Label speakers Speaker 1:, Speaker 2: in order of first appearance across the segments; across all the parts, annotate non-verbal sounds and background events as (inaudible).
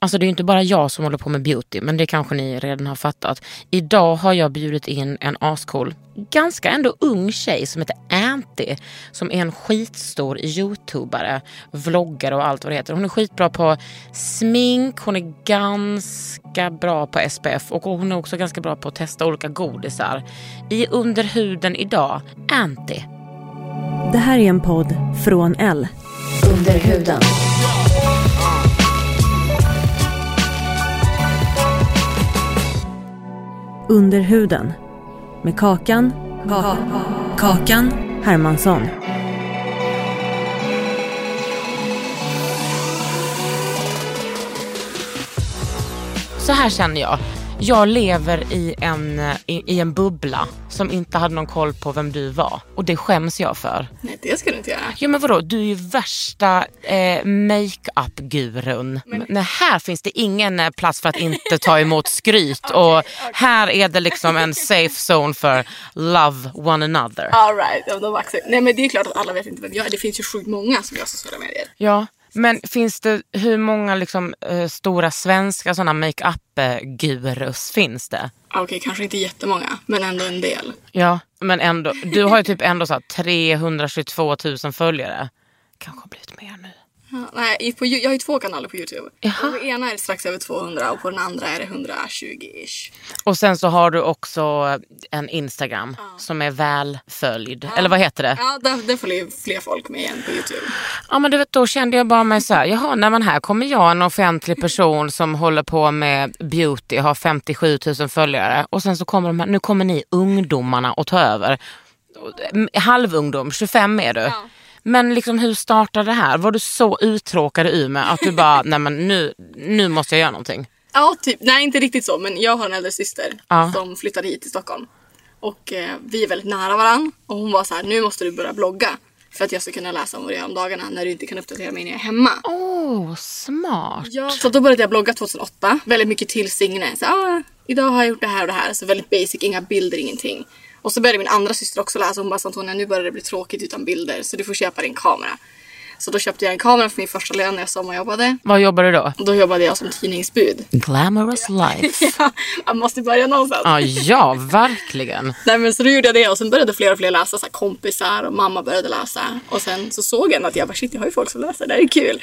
Speaker 1: Alltså det är ju inte bara jag som håller på med beauty, men det kanske ni redan har fattat. Idag har jag bjudit in en ascool, ganska ändå ung tjej som heter Anty. Som är en skitstor youtubare, vloggare och allt vad det heter. Hon är skitbra på smink, hon är ganska bra på SPF och hon är också ganska bra på att testa olika godisar. I Under huden idag, Anty.
Speaker 2: Det här är en podd från L.
Speaker 3: Under huden.
Speaker 2: Under huden. Med Kakan. kakan. Hermansson.
Speaker 1: Så här känner jag. Jag lever i en, eh, i, i en bubbla som inte hade någon koll på vem du var. Och det skäms jag för.
Speaker 4: Nej, det ska du inte göra.
Speaker 1: Jo men vadå, du är ju värsta eh, makeup-gurun. Men här finns det ingen eh, plats för att inte ta emot skryt. och här är det liksom en safe zone för love one another.
Speaker 4: Alright, ja, då baxar jag. Nej men det är klart att alla vet inte vem jag är. Det finns ju sjukt många som gör sociala medier.
Speaker 1: Ja, men finns det, hur många liksom, eh, stora svenska sådana makeup-gurus finns det?
Speaker 4: Ah, Okej, kanske inte jättemånga, men ändå en del.
Speaker 1: Ja, men ändå. Du har ju typ ändå så här 322 000 följare. Kanske har blivit mer nu.
Speaker 4: Ja, nej, i- på, Yo- jag har ju två kanaler på Youtube. Och på ena är det strax över 200 och på den andra är det 120-ish.
Speaker 1: Och sen så har du också en Instagram som är välföljd. Eller vad heter det?
Speaker 4: Ja, där, där följer ju fler folk med än på Youtube.
Speaker 1: Ja men du vet då kände jag bara mig så här, jaha nej men här kommer jag en offentlig person som håller på med beauty, har 57 000 följare och sen så kommer de här, nu kommer ni ungdomarna och tar över. Mm, Halvungdom, 25 är du. Men liksom hur startade det här? Var du så uttråkad i Umeå att du (laughs) bara, nej men nu, nu måste jag göra någonting.
Speaker 4: Ja, typ. Nej, inte riktigt så, men jag har en äldre syster
Speaker 1: Ja.
Speaker 4: som flyttade hit till Stockholm. Och eh, vi är väldigt nära varann. Och hon var så här, nu måste du börja blogga. För att jag ska kunna läsa om vad du gör om dagarna när du inte kan uppdatera mig när jag är hemma.
Speaker 1: Åh, oh, smart.
Speaker 4: Ja, så då började jag blogga 2008. Väldigt mycket till Signe. Så, ah, idag har jag gjort det här och det här. Så väldigt basic, inga bilder, ingenting. Och så började min andra syster också läsa. Hon bara sa Antonia, nu börjar det bli tråkigt utan bilder. Så du får köpa din kamera. Så då köpte jag en kamera för min första lön när jag sommarjobbade.
Speaker 1: Vad jobbar du då?
Speaker 4: Och då jobbade jag som tidningsbud. (laughs)
Speaker 1: Glamorous life.
Speaker 4: Man måste börja någonstans.
Speaker 1: (laughs) Ja, ja verkligen.
Speaker 4: Nej men så då gjorde jag det och sen började fler och fler läsa, så här, kompisar och mamma började läsa. Och sen så såg jag att jag bara shit jag har ju folk som läser, det här är kul.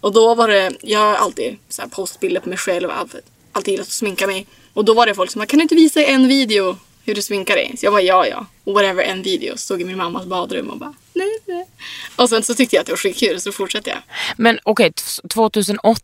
Speaker 4: Och då var det, jag har alltid så här, postat bilder på mig själv, och allt- alltid gillat att sminka mig. Och då var det folk som bara kan du inte visa i en video hur du sminkar dig? Så jag bara ja ja. Och whatever en video, så stod jag i min mammas badrum och bara nej nej. Och sen så tyckte jag att det var skitkul så då fortsatte jag.
Speaker 1: Men okej, t- 2008,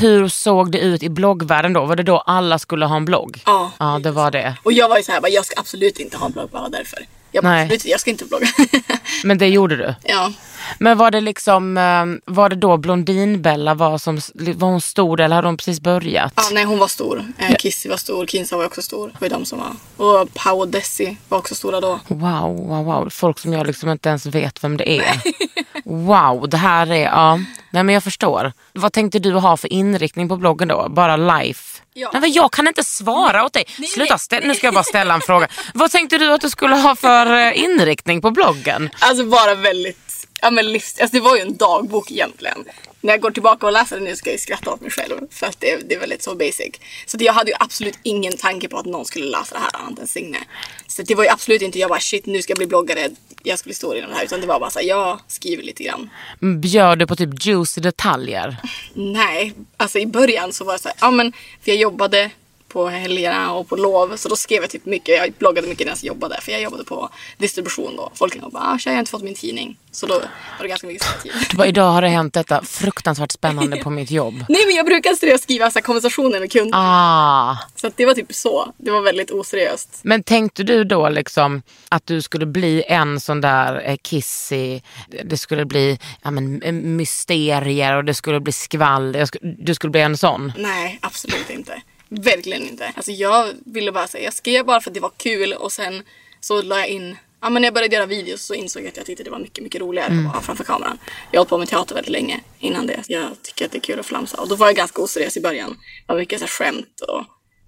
Speaker 1: hur såg det ut i bloggvärlden då? Var det då alla skulle ha en blogg?
Speaker 4: Ja.
Speaker 1: Ja, det var det.
Speaker 4: Och jag var ju så här, bara, jag ska absolut inte ha en blogg bara därför. Jag bara,
Speaker 1: Nej.
Speaker 4: absolut jag ska inte blogga. (laughs)
Speaker 1: Men det gjorde du.
Speaker 4: ja.
Speaker 1: Men var det liksom, eh, var det då Blondinbella var som, var hon stor eller hade hon precis börjat?
Speaker 4: Ja, nej hon var stor. Eh, Kissy var stor, Kinsa var också stor. Det var ju de som var. Och Pau och Desi var också stora då.
Speaker 1: Wow, wow, wow. Folk som jag liksom inte ens vet vem det är. Wow, det här är, ja. Nej men jag förstår. Vad tänkte du ha för inriktning på bloggen då? Bara life?
Speaker 4: Ja.
Speaker 1: Nej men jag kan inte svara åt dig. Sluta, stä- nu ska jag bara ställa en fråga. Vad tänkte du att du skulle ha för eh, inriktning på bloggen?
Speaker 4: Alltså bara väldigt, ja men livs... Alltså det var ju en dagbok egentligen. när jag går tillbaka och läser den nu ska jag skratta åt mig själv. För att det, det är väldigt så basic. Så det, jag hade ju absolut ingen tanke på att någon skulle läsa det här annat än Signe. Så det var ju absolut inte jag bara shit nu ska jag bli bloggare, jag ska bli stor inom det här. Utan det var bara så här, jag skriver lite grann.
Speaker 1: Bjöd du på typ juicy detaljer?
Speaker 4: Nej, alltså i början så var det så här, ja men för jag jobbade på helgerna och på lov så då skrev jag typ mycket, jag bloggade mycket när jag jobbade för jag jobbade på distribution då. Folk ringde och bara ah, tja, jag har inte fått min tidning. Så då var det ganska mycket sånt.
Speaker 1: Du Typ bara, idag har det hänt detta fruktansvärt spännande på mitt jobb.
Speaker 4: Nej men jag brukar seriöst skriva så här, konversationer med kunder.
Speaker 1: Ah.
Speaker 4: Så att det var typ så. Det var väldigt oseriöst.
Speaker 1: Men tänkte du då liksom att du skulle bli en sån där eh, kissy, det skulle bli ja, men, eh, mysterier och det skulle bli skvaller, Jag sku- du skulle bli en sån?
Speaker 4: Nej, absolut inte. Verkligen inte. Alltså jag ville bara säga, jag skrev bara för att det var kul och sen så la jag in Ja men när jag började göra videos så insåg jag att jag tyckte det var mycket, mycket roligare att vara framför kameran. Jag har hållit på med teater väldigt länge innan det. Jag tycker att det är kul att flamsa. Och då var jag ganska oseriös i början. Det var mycket så här skämt och,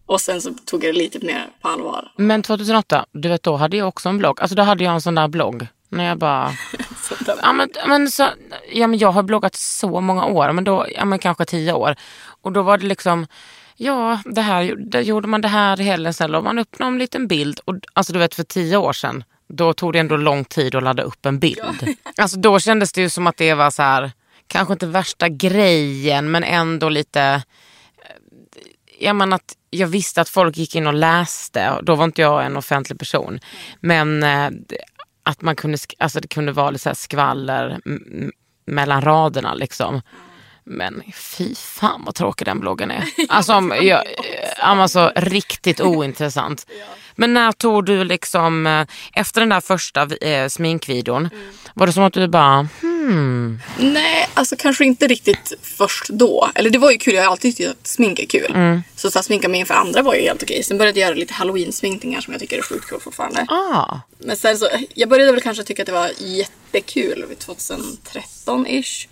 Speaker 4: och sen så tog jag det lite mer på allvar.
Speaker 1: Men 2008, du vet då hade jag också en blogg. Alltså då hade jag en sån där blogg. När jag bara,
Speaker 4: Så där-
Speaker 1: ja men, men, så, ja, men jag har bloggat så många år, men då, ja men kanske tio år. Och då var det liksom, ja det här, där gjorde man det här heller, sen la man upp någon liten bild. Och, alltså du vet för tio år sedan, då tog det ändå lång tid att ladda upp en bild. Alltså då kändes det ju som att det var så här, kanske inte värsta grejen men ändå lite, jag menar att jag visste att folk gick in och läste. och Då var inte jag en offentlig person. Men eh, det- att man kunde, sk- alltså det kunde vara lite så här skvaller m- m- mellan raderna liksom. Men fy fan vad tråkig den bloggen är. Alltså, om, jag, eh, alltså riktigt ointressant. Men när tog du liksom, eh, efter den där första eh, sminkvideon, var det som att du bara, hmm,
Speaker 4: Nej, alltså kanske inte riktigt först då. Eller det var ju kul, jag har alltid tyckt att smink är kul. Så, så att sminka mig inför andra var ju helt okej. Sen började jag göra lite halloween-sminkningar som jag tycker är sjukt kul fortfarande.
Speaker 1: ah,
Speaker 4: Men sen så, jag började väl kanske tycka att det var jättekul vid 2013-ish.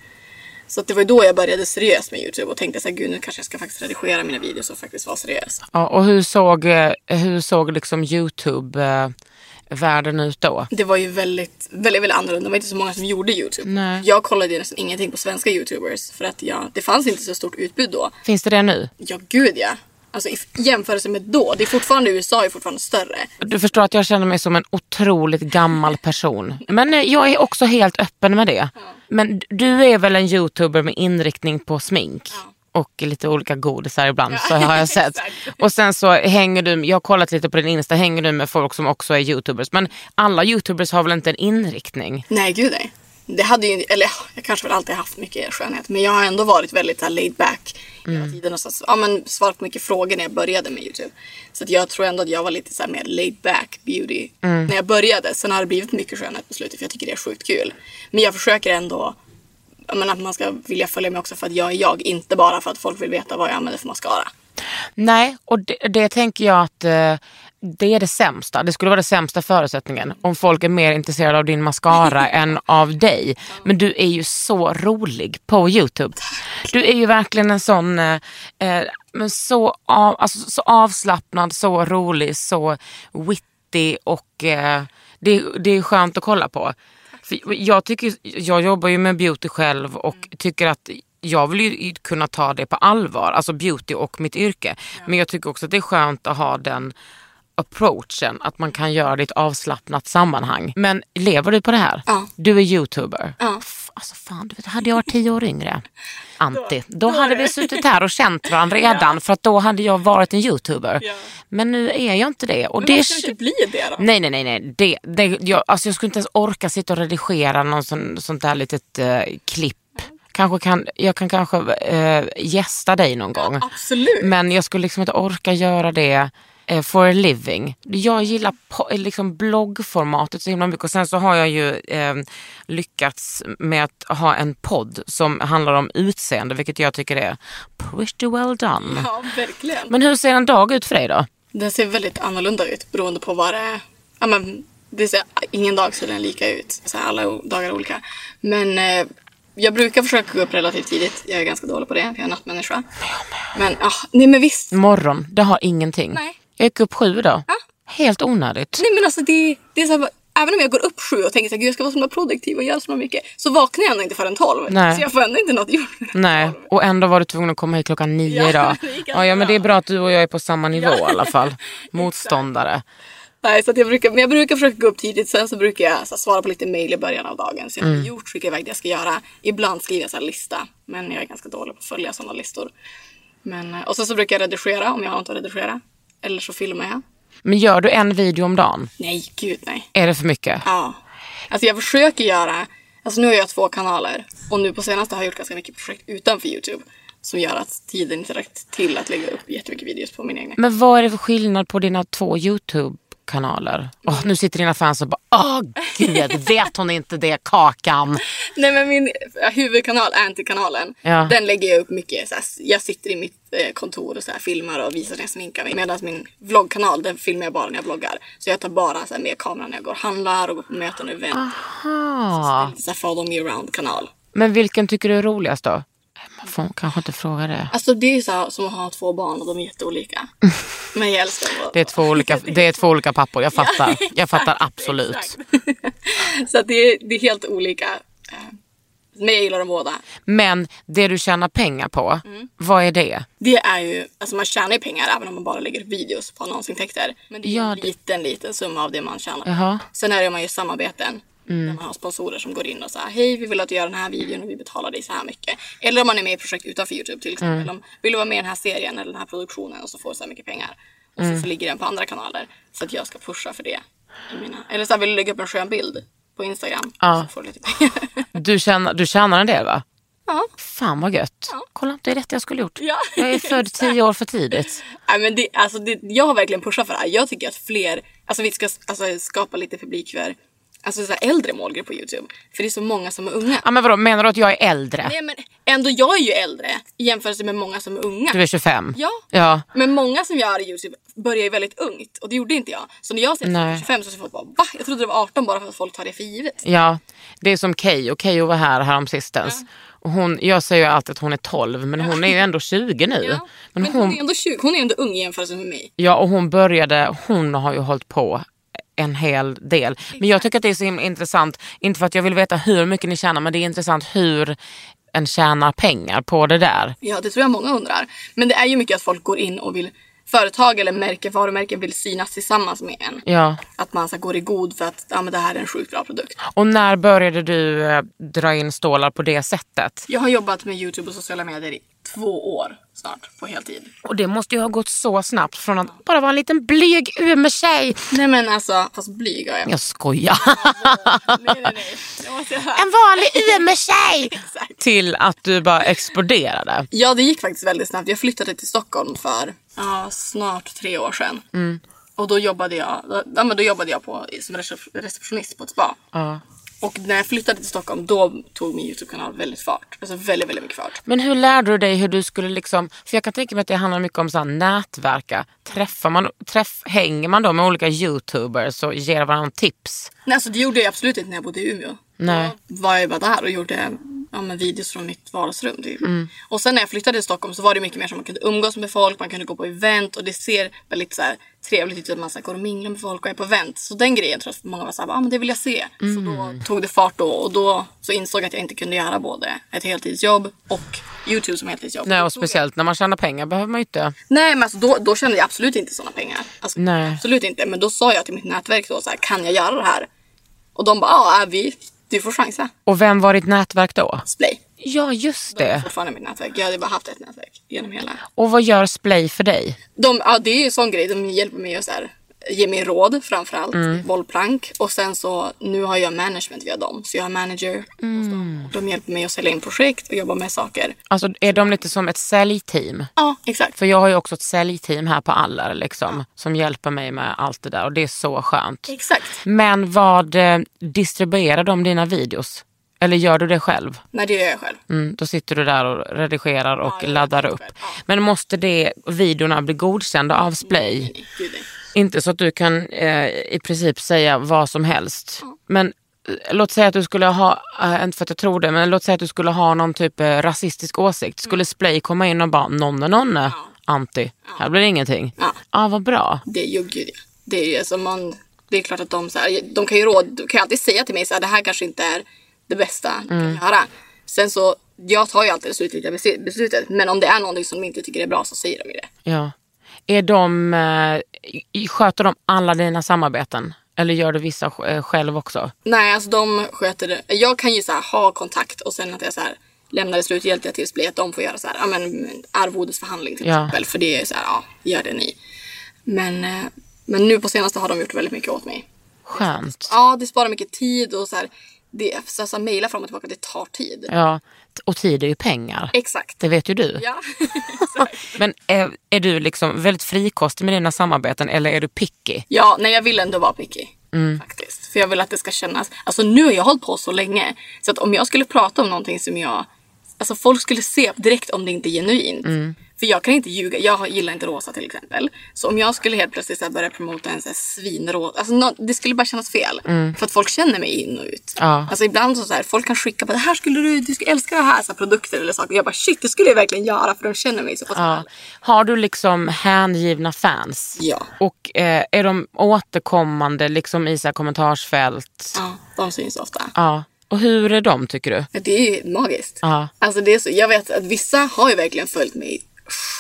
Speaker 4: Så att det var ju då jag började seriöst med Youtube och tänkte så här, gud nu kanske jag ska faktiskt redigera mina videos och faktiskt vara seriös.
Speaker 1: Ja, och hur såg, eh, hur såg liksom Youtube-världen ut då?
Speaker 4: Det var ju väldigt, väldigt, väldigt annorlunda. Det var inte så många som gjorde Youtube.
Speaker 1: Nej.
Speaker 4: Jag kollade ju nästan ingenting på svenska Youtubers för att jag, det fanns inte så stort utbud då.
Speaker 1: Finns det det nu?
Speaker 4: Ja, gud ja. Alltså i jämförelse med då. Det är fortfarande USA är fortfarande större.
Speaker 1: Du förstår att jag känner mig som en otroligt gammal person. Men eh, jag är också helt öppen med det. Men d- du är väl en youtuber med inriktning på smink? Och lite olika godisar ibland, så har jag sett. Och sen så hänger du, jag har kollat lite på din Insta, hänger du med folk som också är youtubers. Men alla youtubers har väl inte en inriktning?
Speaker 4: Nej, gud nej. Det hade ju, eller jag kanske väl alltid haft mycket skönhet, men jag har ändå varit väldigt så här, laid back hela tiden och så, ja, men svarat på mycket frågor när jag började med Youtube. Så att jag tror ändå att jag var lite så här, mer laid back beauty när jag började. Sen har det blivit mycket skönhet på slutet för jag tycker det är sjukt kul. Men jag försöker ändå ja, men att man ska vilja följa mig också för att jag är jag, inte bara för att folk vill veta vad jag använder för mascara.
Speaker 1: Nej, och det, det tänker jag att eh, det är det sämsta. Det skulle vara det sämsta förutsättningen om folk är mer intresserade av din mascara än av dig. Men du är ju så rolig på Youtube. Du är ju verkligen en sån, eh, eh, men så, av, alltså, så avslappnad, så rolig, så witty och eh, det, det är skönt att kolla på. För jag, tycker, jag jobbar ju med beauty själv och
Speaker 4: Mm.
Speaker 1: tycker att jag vill ju kunna ta det på allvar, alltså beauty och mitt yrke. Men jag tycker också att det är skönt att ha den approachen, att man kan göra det i ett avslappnat sammanhang. Men lever du på det här?
Speaker 4: Ja.
Speaker 1: Du är youtuber.
Speaker 4: Ja.
Speaker 1: F- Alltså fan, du vet, hade jag varit tio år yngre, Antti, då, hade vi suttit här och känt varandra
Speaker 4: (laughs)
Speaker 1: redan för att då hade jag varit en youtuber. Men nu är jag inte det. Och
Speaker 4: Men
Speaker 1: det
Speaker 4: varför ska det inte bli det då?
Speaker 1: Nej, nej, nej. nej. Det, det, jag, alltså jag skulle inte ens orka sitta och redigera någon sån, sånt där litet eh, klipp. Kanske kan, jag kan kanske eh, gästa dig någon gång.
Speaker 4: Absolut.
Speaker 1: Men jag skulle liksom inte orka göra det eh, for a living. Jag gillar po- eh, liksom bloggformatet så himla mycket och sen så har jag ju eh, lyckats med att ha en podd som handlar om utseende vilket jag tycker är pretty well done.
Speaker 4: Ja, verkligen.
Speaker 1: Men hur ser en dag ut för dig då?
Speaker 4: Den ser väldigt annorlunda ut beroende på vad det är. Ja, men, det ser, ingen dag ser den lika ut. Så här, alla o- dagar är olika. Men eh, jag brukar försöka gå upp relativt tidigt. Jag är ganska dålig på det, för jag är nattmänniska. Men, ah, nej men visst.
Speaker 1: Morgon, det har ingenting.
Speaker 4: Nej.
Speaker 1: Jag gick upp sju idag. Helt onödigt.
Speaker 4: Nej men alltså det, det är så här, bara, även om jag går upp sju och tänker så här, "Gud, jag ska vara så himla produktiv och göra så himla mycket så vaknar jag ändå inte förrän tolv.
Speaker 1: Nej.
Speaker 4: Så jag får ändå inte något gjort.
Speaker 1: Nej, och ändå var du tvungen att komma hit klockan nio
Speaker 4: Ja,
Speaker 1: idag.
Speaker 4: (laughs) det gick
Speaker 1: Ja, ja, men
Speaker 4: bra.
Speaker 1: det är bra att du och jag är på samma nivå i alla
Speaker 4: (laughs)
Speaker 1: fall. Motståndare.
Speaker 4: Nej, så att jag brukar, men jag brukar försöka gå upp tidigt. Sen så brukar jag så här, svara på lite mejl i början av dagen. Så jag har gjort, skickar iväg det jag ska göra. Ibland skriver jag så här lista. Men jag är ganska dålig på att följa sådana listor. Men, eh, och sen så brukar jag redigera om jag har något att redigera. Eller så filmar jag.
Speaker 1: Men gör du en video om dagen?
Speaker 4: Nej, gud nej.
Speaker 1: Är det för mycket?
Speaker 4: Ja. Alltså jag försöker göra, alltså nu har jag två kanaler och nu på senaste har jag gjort ganska mycket projekt utanför Youtube som gör att tiden inte räckt till att lägga upp jättemycket videos på min egna.
Speaker 1: Men vad är det för skillnad på dina två YouTube-kanaler? Åh, nu sitter dina fans och bara, åh
Speaker 4: (laughs)
Speaker 1: gud, vet hon inte det, Kakan?
Speaker 4: Nej men min huvudkanal, Anti-kanalen,
Speaker 1: Ja.
Speaker 4: den lägger jag upp mycket. Så här, jag sitter i mitt eh, kontor och så här, filmar och visar när jag sminkar mig. Medan min vloggkanal, den filmar jag bara när jag vloggar. Så jag tar bara så här, med kameran när jag går och handlar och går på möten och event.
Speaker 1: Ah.
Speaker 4: Så här, follow me around-kanal. Men
Speaker 1: Men vilken tycker du är roligast då? Man får kanske inte fråga det.
Speaker 4: Alltså det är ju så här, som att ha två barn och de
Speaker 1: (laughs)
Speaker 4: är jätteolika. Men jag älskar båda.
Speaker 1: Det är två
Speaker 4: (laughs)
Speaker 1: olika, det är två olika pappor, jag fattar. Jag fattar absolut.
Speaker 4: (laughs) Så att det, är, det är helt olika. eh, Men jag gillar dem båda.
Speaker 1: Men det du tjänar pengar på,
Speaker 4: Mm.
Speaker 1: vad är det?
Speaker 4: Det är ju, alltså man tjänar ju pengar även om man bara lägger upp videos på annonsintäkter. Men det är ju
Speaker 1: Ja,
Speaker 4: en
Speaker 1: det-
Speaker 4: liten, liten summa av det man tjänar.
Speaker 1: Jaha.
Speaker 4: Sen är det man ju samarbeten. Där man har sponsorer som går in och säger hej vi vill att du gör den här videon och vi betalar dig så här mycket. Eller om man är med i projekt utanför Youtube till exempel. Om vill du vara med i den här serien eller den här produktionen och så får du så här mycket pengar. Och sen så ligger den på andra kanaler. Så att jag ska pusha för det. i Mina. Eller så här, vill du lägga upp en skön bild på Instagram
Speaker 1: Ja.
Speaker 4: så får du lite pengar. (laughs)
Speaker 1: Du tjänar, du tjänar en del va?
Speaker 4: ja.
Speaker 1: Fan vad gött. Kolla, det är rätt jag skulle gjort.
Speaker 4: Ja,
Speaker 1: Jag är född
Speaker 4: (laughs)
Speaker 1: tio år för tidigt.
Speaker 4: Nej, men det, alltså det, jag har verkligen pushat för det här. Jag tycker att fler, alltså vi ska alltså, skapa lite publik för alltså, så här, äldre målgrupp på Youtube. För det är så många som är unga.
Speaker 1: Ja, men vadå, menar du att jag är äldre?
Speaker 4: Nej men ändå, jag är ju äldre i jämförelse med många som är unga.
Speaker 1: Du är 25?
Speaker 4: Ja.
Speaker 1: ja.
Speaker 4: Men många som gör Youtube börjar ju väldigt ungt och det gjorde inte jag. Så när jag ser
Speaker 1: Nej.
Speaker 4: 25 så ser folk bara va? Jag trodde det var 18 bara för att folk tar det för givet.
Speaker 1: Ja, det är som Keyyo. Keyyo var här häromsistens. Och Hon, jag säger ju alltid att hon är 12 men hon är ju ändå 20 nu.
Speaker 4: Ja.
Speaker 1: Men
Speaker 4: Men hon är
Speaker 1: hon,
Speaker 4: ändå 20, hon är ändå ung i jämförelse med mig.
Speaker 1: ja, och hon började, hon har ju hållit på en hel del. Men jag tycker att det är så himla intressant, inte för att jag vill veta hur mycket ni tjänar men det är intressant hur en tjänar pengar på det där.
Speaker 4: Ja, det tror jag många undrar. Men det är ju mycket att folk går in och vill företag eller märke, varumärken vill synas tillsammans med en.
Speaker 1: Ja.
Speaker 4: Att man så här, går i god för att ja, men det här är en sjukt bra produkt.
Speaker 1: Och när började du eh, dra in stålar på det sättet?
Speaker 4: Jag har jobbat med Youtube och sociala medier i två år snart på heltid.
Speaker 1: Och det måste ju ha gått så snabbt från att bara vara en liten blyg UME-tjej.
Speaker 4: Nej men alltså, fast blyg har jag.
Speaker 1: Jag skojar.
Speaker 4: (laughs) Nej, nej, nej. Det måste jag säga.
Speaker 1: (laughs) en vanlig UME-tjej! Till att du bara exploderade.
Speaker 4: Ja, det gick faktiskt väldigt snabbt. Jag flyttade till Stockholm för ja, snart tre år sedan. Och då jobbade jag, då, ja, men då jobbade jag på, som recep- receptionist på ett spa. Och när jag flyttade till Stockholm då tog min Youtube-kanal väldigt fart. Alltså väldigt, väldigt mycket fart.
Speaker 1: Men hur lärde du dig hur du skulle liksom, för jag kan tänka mig att det handlar mycket om så här nätverka. Träffar man, träff, hänger man då med olika youtubers och ger varandra tips?
Speaker 4: Nej, alltså det gjorde jag absolut inte när jag bodde i Umeå.
Speaker 1: Nej.
Speaker 4: Då var jag bara där och gjorde ja, men videos från mitt vardagsrum. Typ.
Speaker 1: Mm.
Speaker 4: Och sen när jag flyttade till Stockholm så var det mycket mer som man kunde umgås med folk, man kunde gå på event och det ser väldigt så här, trevligt ut att man så här, går och minglar med folk och är på event. Så den grejen tror jag att många var såhär, ah, men det vill jag se. Så då
Speaker 1: Mm.
Speaker 4: tog det fart då och då så insåg jag att jag inte kunde göra både ett heltidsjobb och Youtube som heltidsjobb.
Speaker 1: Nej,
Speaker 4: Då
Speaker 1: och
Speaker 4: tog jag-
Speaker 1: speciellt när man tjänar pengar behöver man ju inte.
Speaker 4: Nej men alltså, då, då kände jag absolut inte såna pengar. Alltså,
Speaker 1: Nej.
Speaker 4: Absolut inte. Men då sa jag till mitt nätverk då så här, kan jag göra det här? Och de bara, ja ah, vi, du får chansa.
Speaker 1: Och vem var ditt nätverk då?
Speaker 4: Splay.
Speaker 1: Ja, just
Speaker 4: De är
Speaker 1: det.
Speaker 4: fortfarande mitt nätverk. Jag hade bara haft ett nätverk genom hela.
Speaker 1: Och vad gör Splay för dig?
Speaker 4: De, ja, det är ju en sån grej. De hjälper mig att så här, ge mig råd framförallt.
Speaker 1: Mm.
Speaker 4: Bollplank. Och sen så nu har jag management via dem. Så jag har manager hos
Speaker 1: Mm.
Speaker 4: dem. Och de hjälper mig att sälja in projekt och jobba med saker.
Speaker 1: Alltså är de lite som ett säljteam?
Speaker 4: Ja exakt.
Speaker 1: För jag har ju också ett säljteam här på Allar liksom, som hjälper mig med allt det där och det är så skönt.
Speaker 4: Exakt.
Speaker 1: Men vad eh, distribuerar de dina videos? Eller gör du det själv?
Speaker 4: Nej det gör jag själv.
Speaker 1: Mm, då sitter du där och redigerar och
Speaker 4: jag
Speaker 1: laddar
Speaker 4: vet
Speaker 1: upp.
Speaker 4: själv, ja.
Speaker 1: Men måste det, videorna bli godkända av Splay?
Speaker 4: Nej, gud, nej.
Speaker 1: Inte så att du kan eh, i princip säga vad som helst. Men eh, låt säga att du skulle ha, eh, inte för att jag tror det, men låt säga att du skulle ha någon typ eh, rasistisk åsikt.
Speaker 4: Mm.
Speaker 1: Skulle Splay komma in och bara nonne nonne, anti, här blir det ingenting. Ja,
Speaker 4: Ja.
Speaker 1: vad bra.
Speaker 4: Det är ju gud ja. Det är ju alltså man Det är klart att de, så här, de kan ju råd, du kan ju alltid säga till mig så här, det här kanske inte är det bästa du
Speaker 1: Mm.
Speaker 4: kan göra. Sen så, jag tar ju alltid det slutgiltiga besi- beslutet. Men om det är någonting som de inte tycker är bra så säger de ju det.
Speaker 1: Ja. Är de, eh, i- sköter de alla dina samarbeten? Eller gör du vissa sj- eh, själv också?
Speaker 4: Nej, alltså de sköter det. Jag kan ju så här, ha kontakt och sen att jag så här, lämnar det slutgiltiga tills blir att de får göra så här, ja, men, arvodesförhandling till
Speaker 1: Ja.
Speaker 4: exempel. För det är så här, ja, gör det ni. Men, eh, men nu på senaste har de gjort väldigt mycket åt mig.
Speaker 1: Skönt.
Speaker 4: Ja, det sparar mycket tid och så här, det, så här, så här, mejla fram och tillbaka, det tar tid.
Speaker 1: Ja. Och tid är ju pengar.
Speaker 4: Exakt.
Speaker 1: Det vet ju du. (laughs)
Speaker 4: Ja, (laughs) exakt.
Speaker 1: Men är, är du liksom väldigt frikostig med dina samarbeten eller är du picky?
Speaker 4: Ja, nej jag vill ändå vara picky.
Speaker 1: Mm.
Speaker 4: Faktiskt. För jag vill att det ska kännas. Alltså nu har jag hållit på så länge. Så att om jag skulle prata om någonting som jag... Alltså folk skulle se direkt om det inte är genuint.
Speaker 1: Mm.
Speaker 4: För jag kan inte ljuga. Jag gillar inte rosa till exempel. Så om jag skulle helt plötsligt så här börja promota en så här svinrosa. Alltså nå- det skulle bara kännas fel. För att folk känner mig in och ut.
Speaker 1: Mm. Ja.
Speaker 4: Alltså ibland så, så här, folk kan skicka på det här skulle du, du skulle älska det här. Så här produkter eller saker. Jag bara shit det skulle jag verkligen göra för de känner mig så pass
Speaker 1: Ja.
Speaker 4: väl.
Speaker 1: Har du liksom hängivna fans?
Speaker 4: Ja.
Speaker 1: Och eh, är de återkommande liksom i så här kommentarsfält?
Speaker 4: Ja, de syns ofta.
Speaker 1: Ja. Och hur är de tycker du?
Speaker 4: Ja, Det är ju magiskt.
Speaker 1: Ja.
Speaker 4: Alltså det är så, jag vet att vissa har ju verkligen följt mig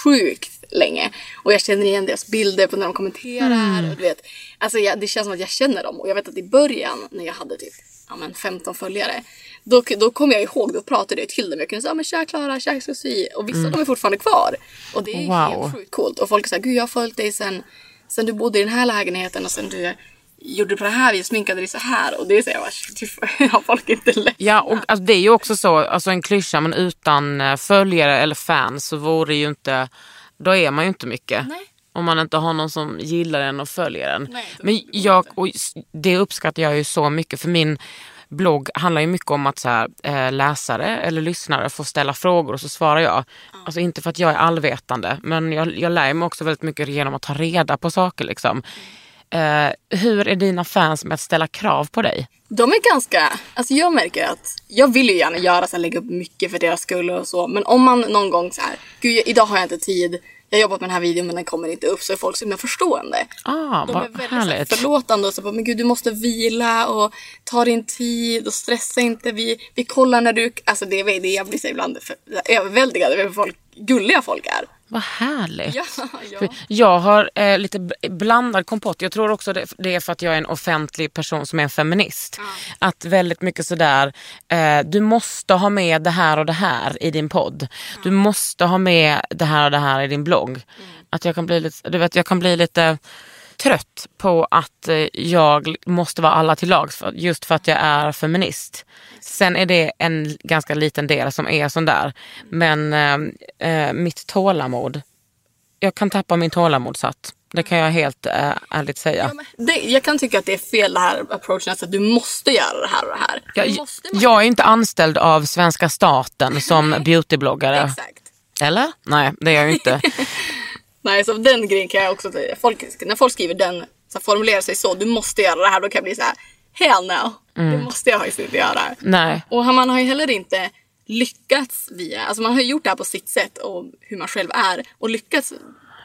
Speaker 4: sjukt länge. Och jag känner igen deras bilder på när de kommenterar.
Speaker 1: Mm.
Speaker 4: Och du vet, alltså jag, det känns som att jag känner dem. Och jag vet att i början när jag hade typ ja, men 15 följare. Då, då kom jag ihåg, då pratade jag till dem. Jag kunde säga men tja Klara, tja Sofie. Och vissa av dem är fortfarande kvar. Och det är ju
Speaker 1: Mm. Wow.
Speaker 4: helt sjukt coolt. Och folk säger gud jag har följt dig sen, sen du bodde i den här lägenheten. Och sen du gjorde på det här viset, sminkade dig så här. Och det är så jag bara, "Shit, typ, (laughs) har folk inte läst
Speaker 1: Ja, och alltså, det är ju också så, alltså en klyscha, men utan eh, följare eller fans så vore ju inte, då är man ju inte mycket.
Speaker 4: Nej.
Speaker 1: Om man inte har någon som gillar en och följer en.
Speaker 4: Nej, det
Speaker 1: men
Speaker 4: går
Speaker 1: jag, och s- det uppskattar jag ju så mycket för min blogg handlar ju mycket om att så här, eh, läsare eller lyssnare får ställa frågor och så svarar jag. Alltså inte för att jag är allvetande men jag, jag lär mig också väldigt mycket genom att ta reda på saker. Liksom.
Speaker 4: Mm.
Speaker 1: Eh, hur är dina fans med att ställa krav på dig?
Speaker 4: De är ganska, alltså jag märker att jag vill ju gärna göra så här, lägga upp mycket för deras skull och så. Men om man någon gång så här, gud jag, idag har jag inte tid, jag har jobbat med den här videon men den kommer inte upp. Så är folk så himla förstående.
Speaker 1: Ah,
Speaker 4: De är
Speaker 1: vad
Speaker 4: väldigt så här,
Speaker 1: härligt.
Speaker 4: förlåtande och så bara, men gud du måste vila och ta din tid och stressa inte. Vi, vi kollar när du, alltså det är det jag blir så ibland för, överväldigad över hur folk, gulliga folk är.
Speaker 1: Vad härligt.
Speaker 4: (laughs) Ja, ja.
Speaker 1: För Jag har eh, lite b- blandad kompott. Jag tror också det, det är för att jag är en offentlig person som är en feminist. Att väldigt mycket sådär, eh, du måste ha med det här och det här i din podd. Du måste ha med det här och det här i din blogg. Att jag kan bli lite, du vet, jag kan bli lite trött på att eh, jag måste vara alla till lags för, just för att jag är feminist. Sen är det en ganska liten del som är sån där. Men eh, eh, mitt tålamod jag kan tappa min tålamod satt. Det kan jag helt eh, ärligt säga.
Speaker 4: Ja, men det, jag kan tycka att det är fel det här approachen, alltså att du måste göra det här och det här.
Speaker 1: Jag,
Speaker 4: Du måste
Speaker 1: jag är ju inte anställd av svenska staten som beautybloggare.
Speaker 4: Exakt.
Speaker 1: Eller? Nej, det är jag ju
Speaker 4: (laughs)
Speaker 1: inte.
Speaker 4: Nej, så av den grejen kan jag också säga. Folk, när folk skriver den, så här, formulerar sig så, du måste göra det här, då kan jag bli så här, hell no.
Speaker 1: Mm.
Speaker 4: Det måste jag faktiskt inte göra.
Speaker 1: Nej.
Speaker 4: Och man har ju heller inte lyckats via, alltså man har ju gjort det här på sitt sätt och hur man själv är och lyckats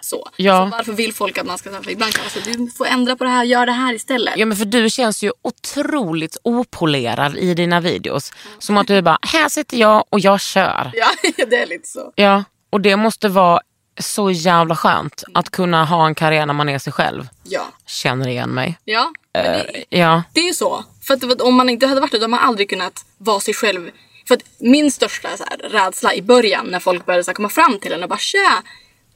Speaker 4: så.
Speaker 1: Ja.
Speaker 4: Så varför vill folk att man ska, så här, för ibland kan man säga, du får ändra på det här, gör det här istället.
Speaker 1: Ja, men för du känns ju otroligt opolerad i dina videos. Som att du bara, här sitter jag och jag kör.
Speaker 4: (laughs) Ja, det är lite så.
Speaker 1: Ja, och det måste vara så jävla skönt att kunna ha en karriär när man är sig själv.
Speaker 4: Ja.
Speaker 1: Känner igen mig.
Speaker 4: Ja, men det,
Speaker 1: Eh, ja.
Speaker 4: Det är ju så. För att, om man inte hade varit det, då hade man aldrig kunnat vara sig själv. För att min största så här, rädsla i början när folk började så här, komma fram till en och bara tja,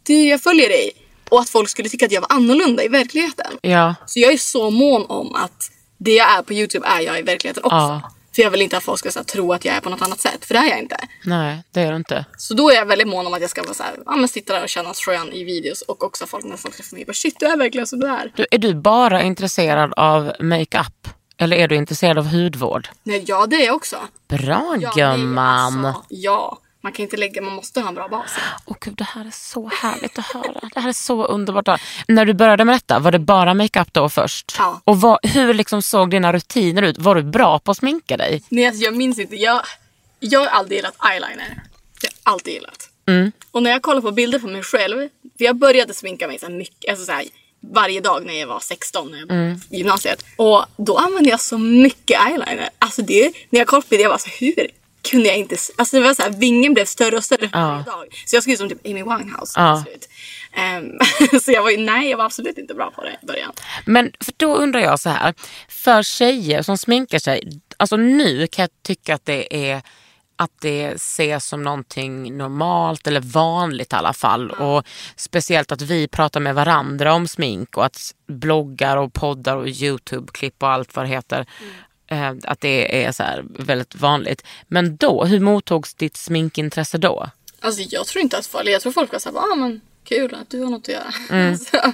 Speaker 4: du jag följer dig. Och att folk skulle tycka att jag var annorlunda i verkligheten.
Speaker 1: ja.
Speaker 4: Så jag är så mån om att det jag är på Youtube är jag i verkligheten också.
Speaker 1: Ja.
Speaker 4: För jag vill inte att folk ska så här, tro att jag är på något annat sätt, för det är jag inte.
Speaker 1: Nej, det är du inte.
Speaker 4: Så då är jag väldigt mån om att jag ska vara så här, ja, men sitta där och kännas skön i videos och också folk när folk träffar mig bara shit du är verkligen som du är.
Speaker 1: Du, är du bara intresserad av makeup eller är du intresserad av hudvård?
Speaker 4: Nej, ja det är jag också.
Speaker 1: Bra
Speaker 4: Ja, nej,
Speaker 1: gumman!
Speaker 4: alltså, ja, man kan inte lägga, man måste ha en bra bas.
Speaker 1: Åh gud, det här är så härligt att höra. Det här är så underbart att höra. När du började med detta, var det bara makeup då först?
Speaker 4: Ja.
Speaker 1: Och vad, hur liksom såg dina rutiner ut? Var du bra på att sminka dig?
Speaker 4: Nej, alltså, jag minns inte, jag, jag har aldrig gillat eyeliner. Jag har
Speaker 1: Mm.
Speaker 4: alltid gillat. Och när jag kollar på bilder på mig själv, för jag började sminka mig så här mycket, alltså så här, varje dag när jag var 16 när jag mm. gymnasiet. Och då använde jag så mycket eyeliner. Alltså det, när jag kollade på det, jag var så hur kunde jag inte... s- Alltså det var så här, vingen blev större och större för varje dag. Så jag såg ut som typ Amy Winehouse
Speaker 1: Ja.
Speaker 4: till slut. Ehm, (laughs) så jag var ju, nej jag var absolut inte bra på det i början.
Speaker 1: Men för då undrar jag så här, för tjejer som sminkar sig, alltså nu kan jag tycka att det är att det ses som någonting normalt eller vanligt i alla fall. Och Speciellt att vi pratar med varandra om smink och att bloggar och poddar och Youtube-klipp och allt vad det heter. eh, Att det är så här väldigt vanligt. Men då, hur mottogs ditt sminkintresse då?
Speaker 4: Alltså jag tror inte att folk, jag tror folk var såhär, ah men kul att du har något att göra. (laughs) så,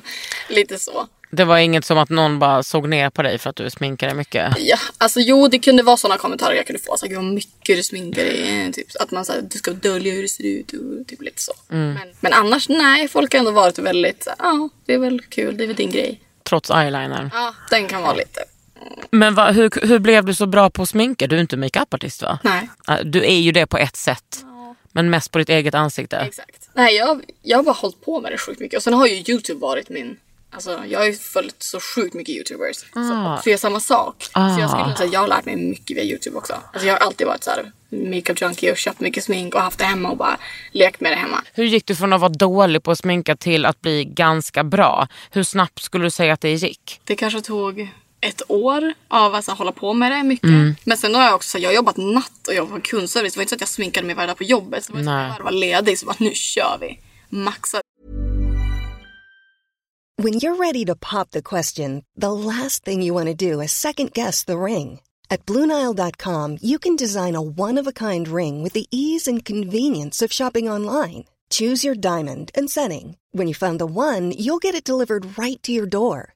Speaker 4: lite så.
Speaker 1: Det var inget som att någon bara såg ner på dig för att du sminkade mycket?
Speaker 4: Ja, alltså jo det kunde vara sådana kommentarer jag kunde få. Såhär, gud vad mycket du sminkar dig. Typ, att man såhär, du ska dölja hur det ser ut och typ lite så. Men, men annars nej, folk har ändå varit väldigt såhär, ja det är väl kul, det är väl din grej.
Speaker 1: Trots eyeliner?
Speaker 4: Ja, den kan vara lite.
Speaker 1: Men vad- hur, hur blev du så bra på att sminka? Du är inte makeupartist va?
Speaker 4: Nej.
Speaker 1: Ah, Du är ju det på ett sätt. Men mest på ditt eget ansikte.
Speaker 4: Exakt. Nej, jag, jag har bara hållit på med det sjukt mycket. Och sen har ju YouTube varit min... Alltså, jag har ju följt så sjukt mycket YouTubers
Speaker 1: Ah.
Speaker 4: så, som gör samma sak. Så jag
Speaker 1: Ah.
Speaker 4: skulle säga att jag har lärt mig mycket via YouTube också. Alltså, jag har alltid varit så här makeup junkie och köpt mycket smink och haft det hemma och bara lekt med det hemma.
Speaker 1: Hur gick du från att vara dålig på att sminka till att bli ganska bra? Hur snabbt skulle du säga att det gick?
Speaker 4: Det kanske tog ett år av att så här, hålla på med det mycket.
Speaker 1: Mm.
Speaker 4: Men sen har jag också så här, jag har jobbat natt och jobbat på kundservice. Det var inte så att jag sminkade mig varje dag på jobbet. Så det var inte så
Speaker 1: Nej.
Speaker 4: att jag bara var ledig så bara nu kör vi. Maxa
Speaker 3: When you're ready to pop the question, the last thing you want to do is second guess the ring. At Bluenile.com, you can design a one of a kind ring with the ease and convenience of shopping online. Choose your diamond and setting. When you find the one, you'll get it delivered right to your door.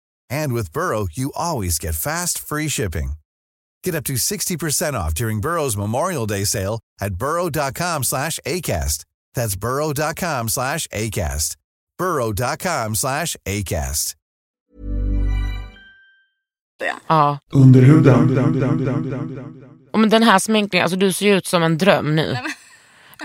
Speaker 5: And with Burrow, you always get fast, free shipping. Get up to 60% off during Burrow's Memorial Day sale at burrow.com slash ACAST. That's burrow.com slash ACAST. burrow.com slash ACAST.
Speaker 4: det.
Speaker 1: Ja. Och men den här sminkningen, alltså du ser ju ut som en dröm nu.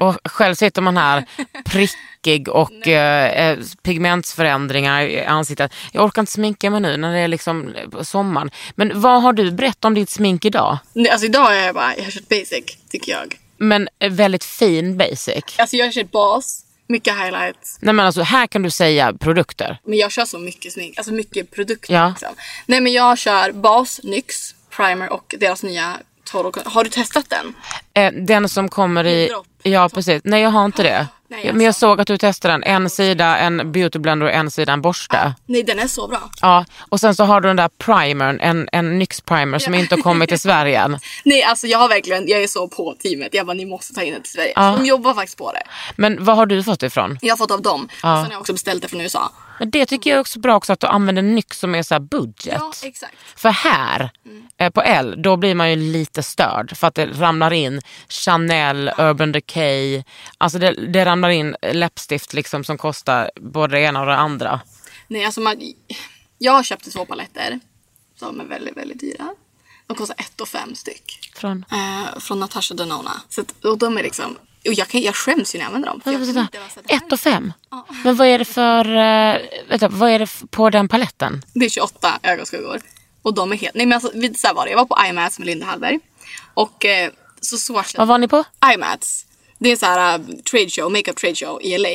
Speaker 1: Och själv sitter man här prickig och eh, eh, pigmentsförändringar i ansiktet. Jag orkar inte sminka mig nu när det är liksom eh, sommaren. Men vad har du berättat om ditt smink idag?
Speaker 4: Nej, Alltså idag är jag bara, jag har kört basic tycker jag.
Speaker 1: Men eh, väldigt fin basic.
Speaker 4: Alltså jag har kört bas, mycket highlights.
Speaker 1: Nej men alltså här kan du säga produkter.
Speaker 4: Men jag kör så mycket smink, alltså mycket produkter.
Speaker 1: Ja.
Speaker 4: Liksom. Nej men jag kör bas, NYX, primer och deras nya Total Har du testat den?
Speaker 1: Eh, den som kommer i...
Speaker 4: Dropp.
Speaker 1: Ja precis. Nej jag har inte det.
Speaker 4: (gasps) Nej,
Speaker 1: Men jag
Speaker 4: alltså.
Speaker 1: såg att du testade den. En sida en beauty blender och en sida en borste.
Speaker 4: Nej den är så bra.
Speaker 1: Ja, och sen så har du den där primern, en, en NYX-primer som inte har kommit till Sverige
Speaker 4: (laughs)
Speaker 1: än.
Speaker 4: Nej alltså jag har verkligen, jag är så på teamet. Jag bara ni måste ta in det till Sverige.
Speaker 1: Ja.
Speaker 4: Så de jobbar faktiskt på det.
Speaker 1: Men vad har du fått ifrån?
Speaker 4: Jag har fått av dem.
Speaker 1: Ja.
Speaker 4: Och sen har jag också beställt det från USA.
Speaker 1: Men det tycker jag också är bra också att du använder NYX som är så här budget.
Speaker 4: Ja exakt.
Speaker 1: För här eh, på L, då blir man ju lite störd för att det ramlar in Chanel, Urban Decay. Alltså det, det ramlar in läppstift liksom som kostar både det ena och det andra.
Speaker 4: Nej, alltså man, jag köpte två paletter som är väldigt, väldigt dyra. De kostar 1 och 5 styck.
Speaker 1: Från?
Speaker 4: Eh, från Natasha Denona. Så att, och de är liksom... Och jag, kan, jag skäms ju när jag använder dem. för jag kan inte ens säga att det här är-
Speaker 1: Ett och fem. Men vad är det för, eh, vänta, vad är det f- på den paletten?
Speaker 4: Det är 28 ögonskuggor. Och de är helt... Nej men alltså, vi- så här var det. Jag var på iMats med Linda Hallberg. Och eh, så swatchade...
Speaker 1: Vad var ni på?
Speaker 4: iMats. Det är en sån här eh, trade show, makeup trade show i LA.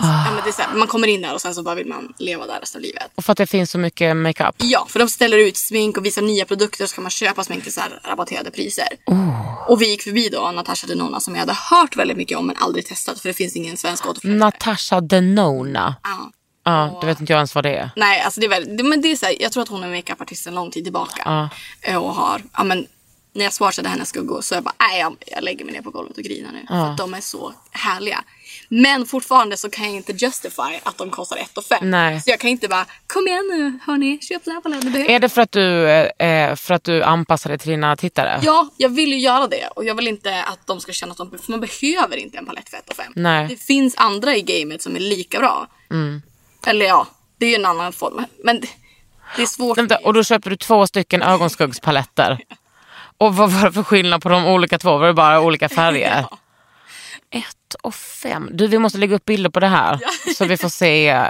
Speaker 1: Ah.
Speaker 4: Ja, men det är så här, man kommer in där och sen så bara vill man leva där resten av livet.
Speaker 1: Och för att det finns så mycket makeup.
Speaker 4: Ja, för de ställer ut smink och visar nya produkter så kan man köpa smink till så här rabatterade priser.
Speaker 1: Oh.
Speaker 4: Och vi gick förbi då Natasha Denona som jag hade hört väldigt mycket om men aldrig testat för det finns ingen svensk återförsäljare.
Speaker 1: Natasha Denona.
Speaker 4: Ja.
Speaker 1: Ja, det vet inte jag ens vad det är.
Speaker 4: Nej, alltså det är väl, det- men det är så här, jag tror att hon är makeupartist en lång tid tillbaka. Eh, Och har, ja men när jag swatchade hennes skuggor så jag bara, nej jag, jag lägger mig ner på golvet och grinar nu. För att de är så härliga. Men fortfarande så kan jag inte justify att de kostar 1 500.
Speaker 1: Nej.
Speaker 4: Så jag kan inte bara, kom igen nu hörni, köp den här balletten. du behöver
Speaker 1: Är det för att du, eh, för att du anpassar dig till dina tittare?
Speaker 4: Ja, jag vill ju göra det och jag vill inte att de ska känna att de, för man behöver inte en palett för 1 5.
Speaker 1: Nej. Mm.
Speaker 4: Det finns andra i gamet som är lika bra. Eller ja, det är ju en annan form. Men det, det är svårt.
Speaker 1: Vänta, och då köpte du två stycken ögonskuggspaletter. Och vad var det för skillnad på de olika två? Var det bara olika färger? Ett och fem. Du, vi måste lägga upp bilder på det här. Så vi får se. eh,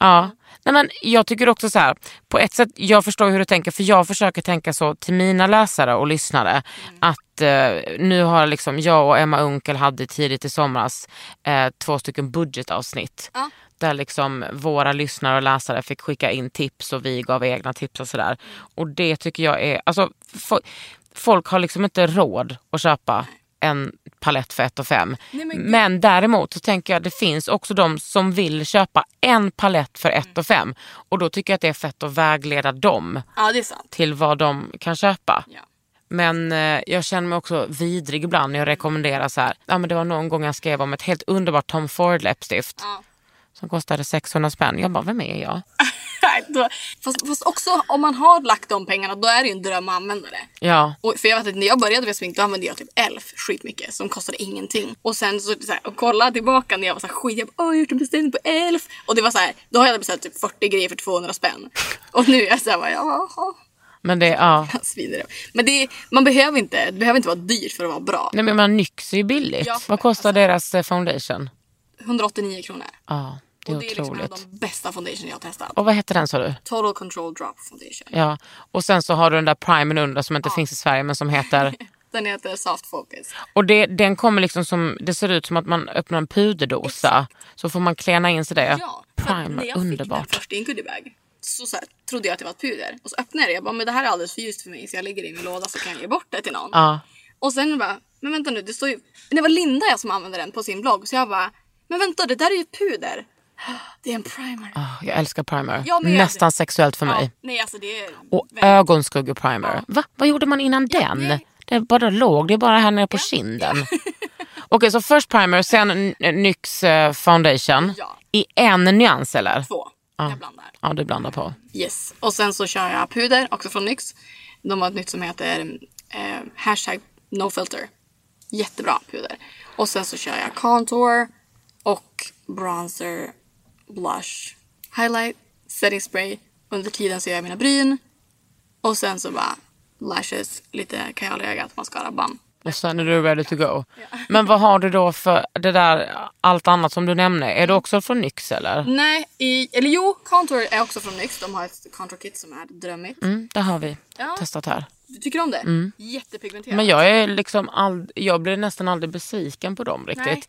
Speaker 1: Ja. Nej, men jag tycker också så här, på ett sätt, jag förstår hur du tänker för jag försöker tänka så till mina läsare och lyssnare att eh, nu har liksom jag och Emma Unkel hade tidigt i somras eh, två stycken budgetavsnitt där liksom våra lyssnare och läsare fick skicka in tips och vi gav egna tips och sådär. Och det tycker jag är, alltså fo- folk har liksom inte råd att köpa en palett för 1 och 5. Men, däremot så tänker jag det finns också de som vill köpa en palett för 1 och 5 och då tycker jag att det är fett att vägleda dem
Speaker 4: Ja, det är sant.
Speaker 1: till vad de kan köpa.
Speaker 4: Ja.
Speaker 1: Men eh, jag känner mig också vidrig ibland när jag rekommenderar så här. Ja, men det var någon gång jag skrev om ett helt underbart Tom Ford läppstift
Speaker 4: Ja.
Speaker 1: som kostade 600 spänn. Jag bara, vem är jag?
Speaker 4: Nej, då, fast, fast också om man har lagt de pengarna då är det ju en dröm att använda det.
Speaker 1: Ja,
Speaker 4: Och för jag vet att när jag började med smink då använde jag typ Elf skitmycket som kostade ingenting. Och sen så, så här, och kolla tillbaka när jag var så här, skit, jag bara, "Åh, jag har gjort en beställning på Elf. Och det var så här, då hade jag beställt typ 40 grejer för 200 spänn. Och nu är jag så här, bara, jaha,
Speaker 1: men det, ja.
Speaker 4: svinare. Men det, är- man behöver inte, det behöver inte vara dyrt för att vara bra.
Speaker 1: Nej, men man NYX är ju billigt.
Speaker 4: Ja, alltså.
Speaker 1: vad kostar deras eh, foundation?
Speaker 4: 189 kronor.
Speaker 1: Ja, det är
Speaker 4: Och det är liksom en
Speaker 1: otroligt.
Speaker 4: av de bästa foundation jag har testat.
Speaker 1: Och vad heter den sa du?
Speaker 4: Total Control Drop Foundation.
Speaker 1: Ja, och sen så har du den där primern under som inte finns i Sverige men som heter...
Speaker 4: Den heter Soft Focus.
Speaker 1: Och det, den kommer liksom som, det ser ut som att man öppnar en puderdosa. Så får man kläna in sig det.
Speaker 4: Ja, för att när
Speaker 1: primer,
Speaker 4: jag fick den
Speaker 1: underbart.
Speaker 4: först i en goodiebag så, så här, trodde jag att det var ett puder. Och så öppnade jag det jag bara, men det här är alldeles för ljust för mig så jag lägger det i min låda så kan jag ge bort det till någon.
Speaker 1: Ja.
Speaker 4: Och sen bara, men vänta nu, det står ju... Men det var Linda jag som använde den på sin blogg så jag bara, men vänta det där är ju ett puder. (gasps) Det är en primer.
Speaker 1: Ah, Jag älskar primer.
Speaker 4: Jag med.
Speaker 1: Nästan sexuellt för
Speaker 4: Ja,
Speaker 1: mig.
Speaker 4: nej alltså det är...
Speaker 1: Och
Speaker 4: väldigt-
Speaker 1: ögonskugga primer. Va? Vad gjorde man innan den?
Speaker 4: nej.
Speaker 1: Det bara låg, det är bara här nere på kinden.
Speaker 4: (laughs)
Speaker 1: Okej, så först primer, sen n- NYX eh, foundation.
Speaker 4: Ja.
Speaker 1: I en nyans eller?
Speaker 4: Två. Jag blandar.
Speaker 1: Ja, du blandar på.
Speaker 4: Yes. Och sen så kör jag puder, också från NYX. De har ett nytt som heter eh, hashtag nofilter. Jättebra puder. Och sen så kör jag contour och bronzer, blush, highlight, setting spray. Under tiden så gör jag mina bryn. Och sen så bara lashes, lite kajalögat, mascara, bam.
Speaker 1: Och sen är du ready to go. Men vad har du då för det där allt annat som du nämnde? Är det också från NYX eller?
Speaker 4: Nej, i, eller jo, contour är också från NYX. De har ett contour kit som är drömmigt.
Speaker 1: Mm, det har vi
Speaker 4: Ja.
Speaker 1: testat här.
Speaker 4: Du tycker om det? Jättepigmenterat.
Speaker 1: Mm. Men jag, är liksom all, jag blir nästan aldrig besviken på dem riktigt.
Speaker 4: Nej.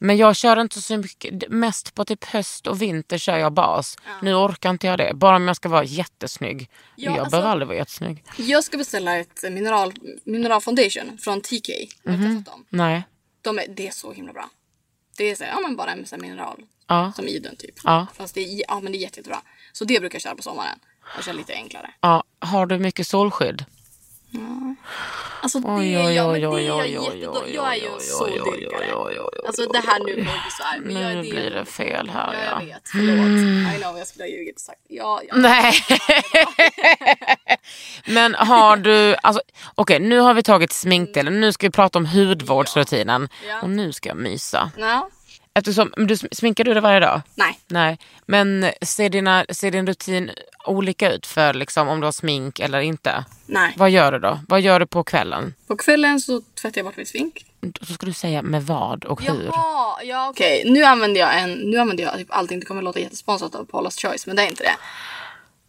Speaker 1: Men jag kör inte så mycket, d- mest på typ höst och vinter kör jag bas. Nu orkar inte jag det, bara om jag ska vara jättesnygg.
Speaker 4: Ja,
Speaker 1: jag
Speaker 4: alltså-
Speaker 1: behöver aldrig vara jättesnygg.
Speaker 4: Jag ska beställa ett mineral, mineral foundation från TK. Jag har
Speaker 1: Mhm.
Speaker 4: testat dem.
Speaker 1: Nej.
Speaker 4: De är, det är så himla bra. Det är så här, ja, men bara en sån här mineral.
Speaker 1: Ja.
Speaker 4: Som Iden typ.
Speaker 1: Ja.
Speaker 4: Fast det är, ja, men det är jätte, jättebra. Så det brukar jag köra på sommaren. Jag kör lite enklare.
Speaker 1: Ja, har du mycket solskydd?
Speaker 4: Alltså det,
Speaker 1: Oj,
Speaker 4: ja, men
Speaker 1: oj,
Speaker 4: det
Speaker 1: oj,
Speaker 4: är jag
Speaker 1: oj, oj,
Speaker 4: jättedå-
Speaker 1: oj,
Speaker 4: Jag är
Speaker 1: oj,
Speaker 4: ju
Speaker 1: oj,
Speaker 4: soldyrkare.
Speaker 1: oj, oj, oj, oj,
Speaker 4: Alltså det här nu blir det så här. Men jag är
Speaker 1: Nu
Speaker 4: det.
Speaker 1: blir det fel här
Speaker 4: Ja,
Speaker 1: ja.
Speaker 4: jag vet. Förlåt. I know, jag skulle ha ljugit och sagt ja, ja.
Speaker 1: Nej. Men har du, alltså, okej nu har vi tagit sminkdelen, nu ska vi prata om hudvårdsrutinen
Speaker 4: Ja.
Speaker 1: och nu ska jag mysa.
Speaker 4: Ja.
Speaker 1: Eftersom, men du, sminkar du dig varje dag?
Speaker 4: Nej.
Speaker 1: Nej, men ser, dina, ser din rutin olika ut för liksom, om du har smink eller inte?
Speaker 4: Nej.
Speaker 1: Vad gör du då? Vad gör du på kvällen?
Speaker 4: På kvällen så tvättar jag bort mitt smink.
Speaker 1: Då ska du säga med vad och hur.
Speaker 4: Jaha, ja okej. Nu använder jag en, nu använder jag typ allting, det kommer låta jättesponsrat av Paula's Choice men det är inte det.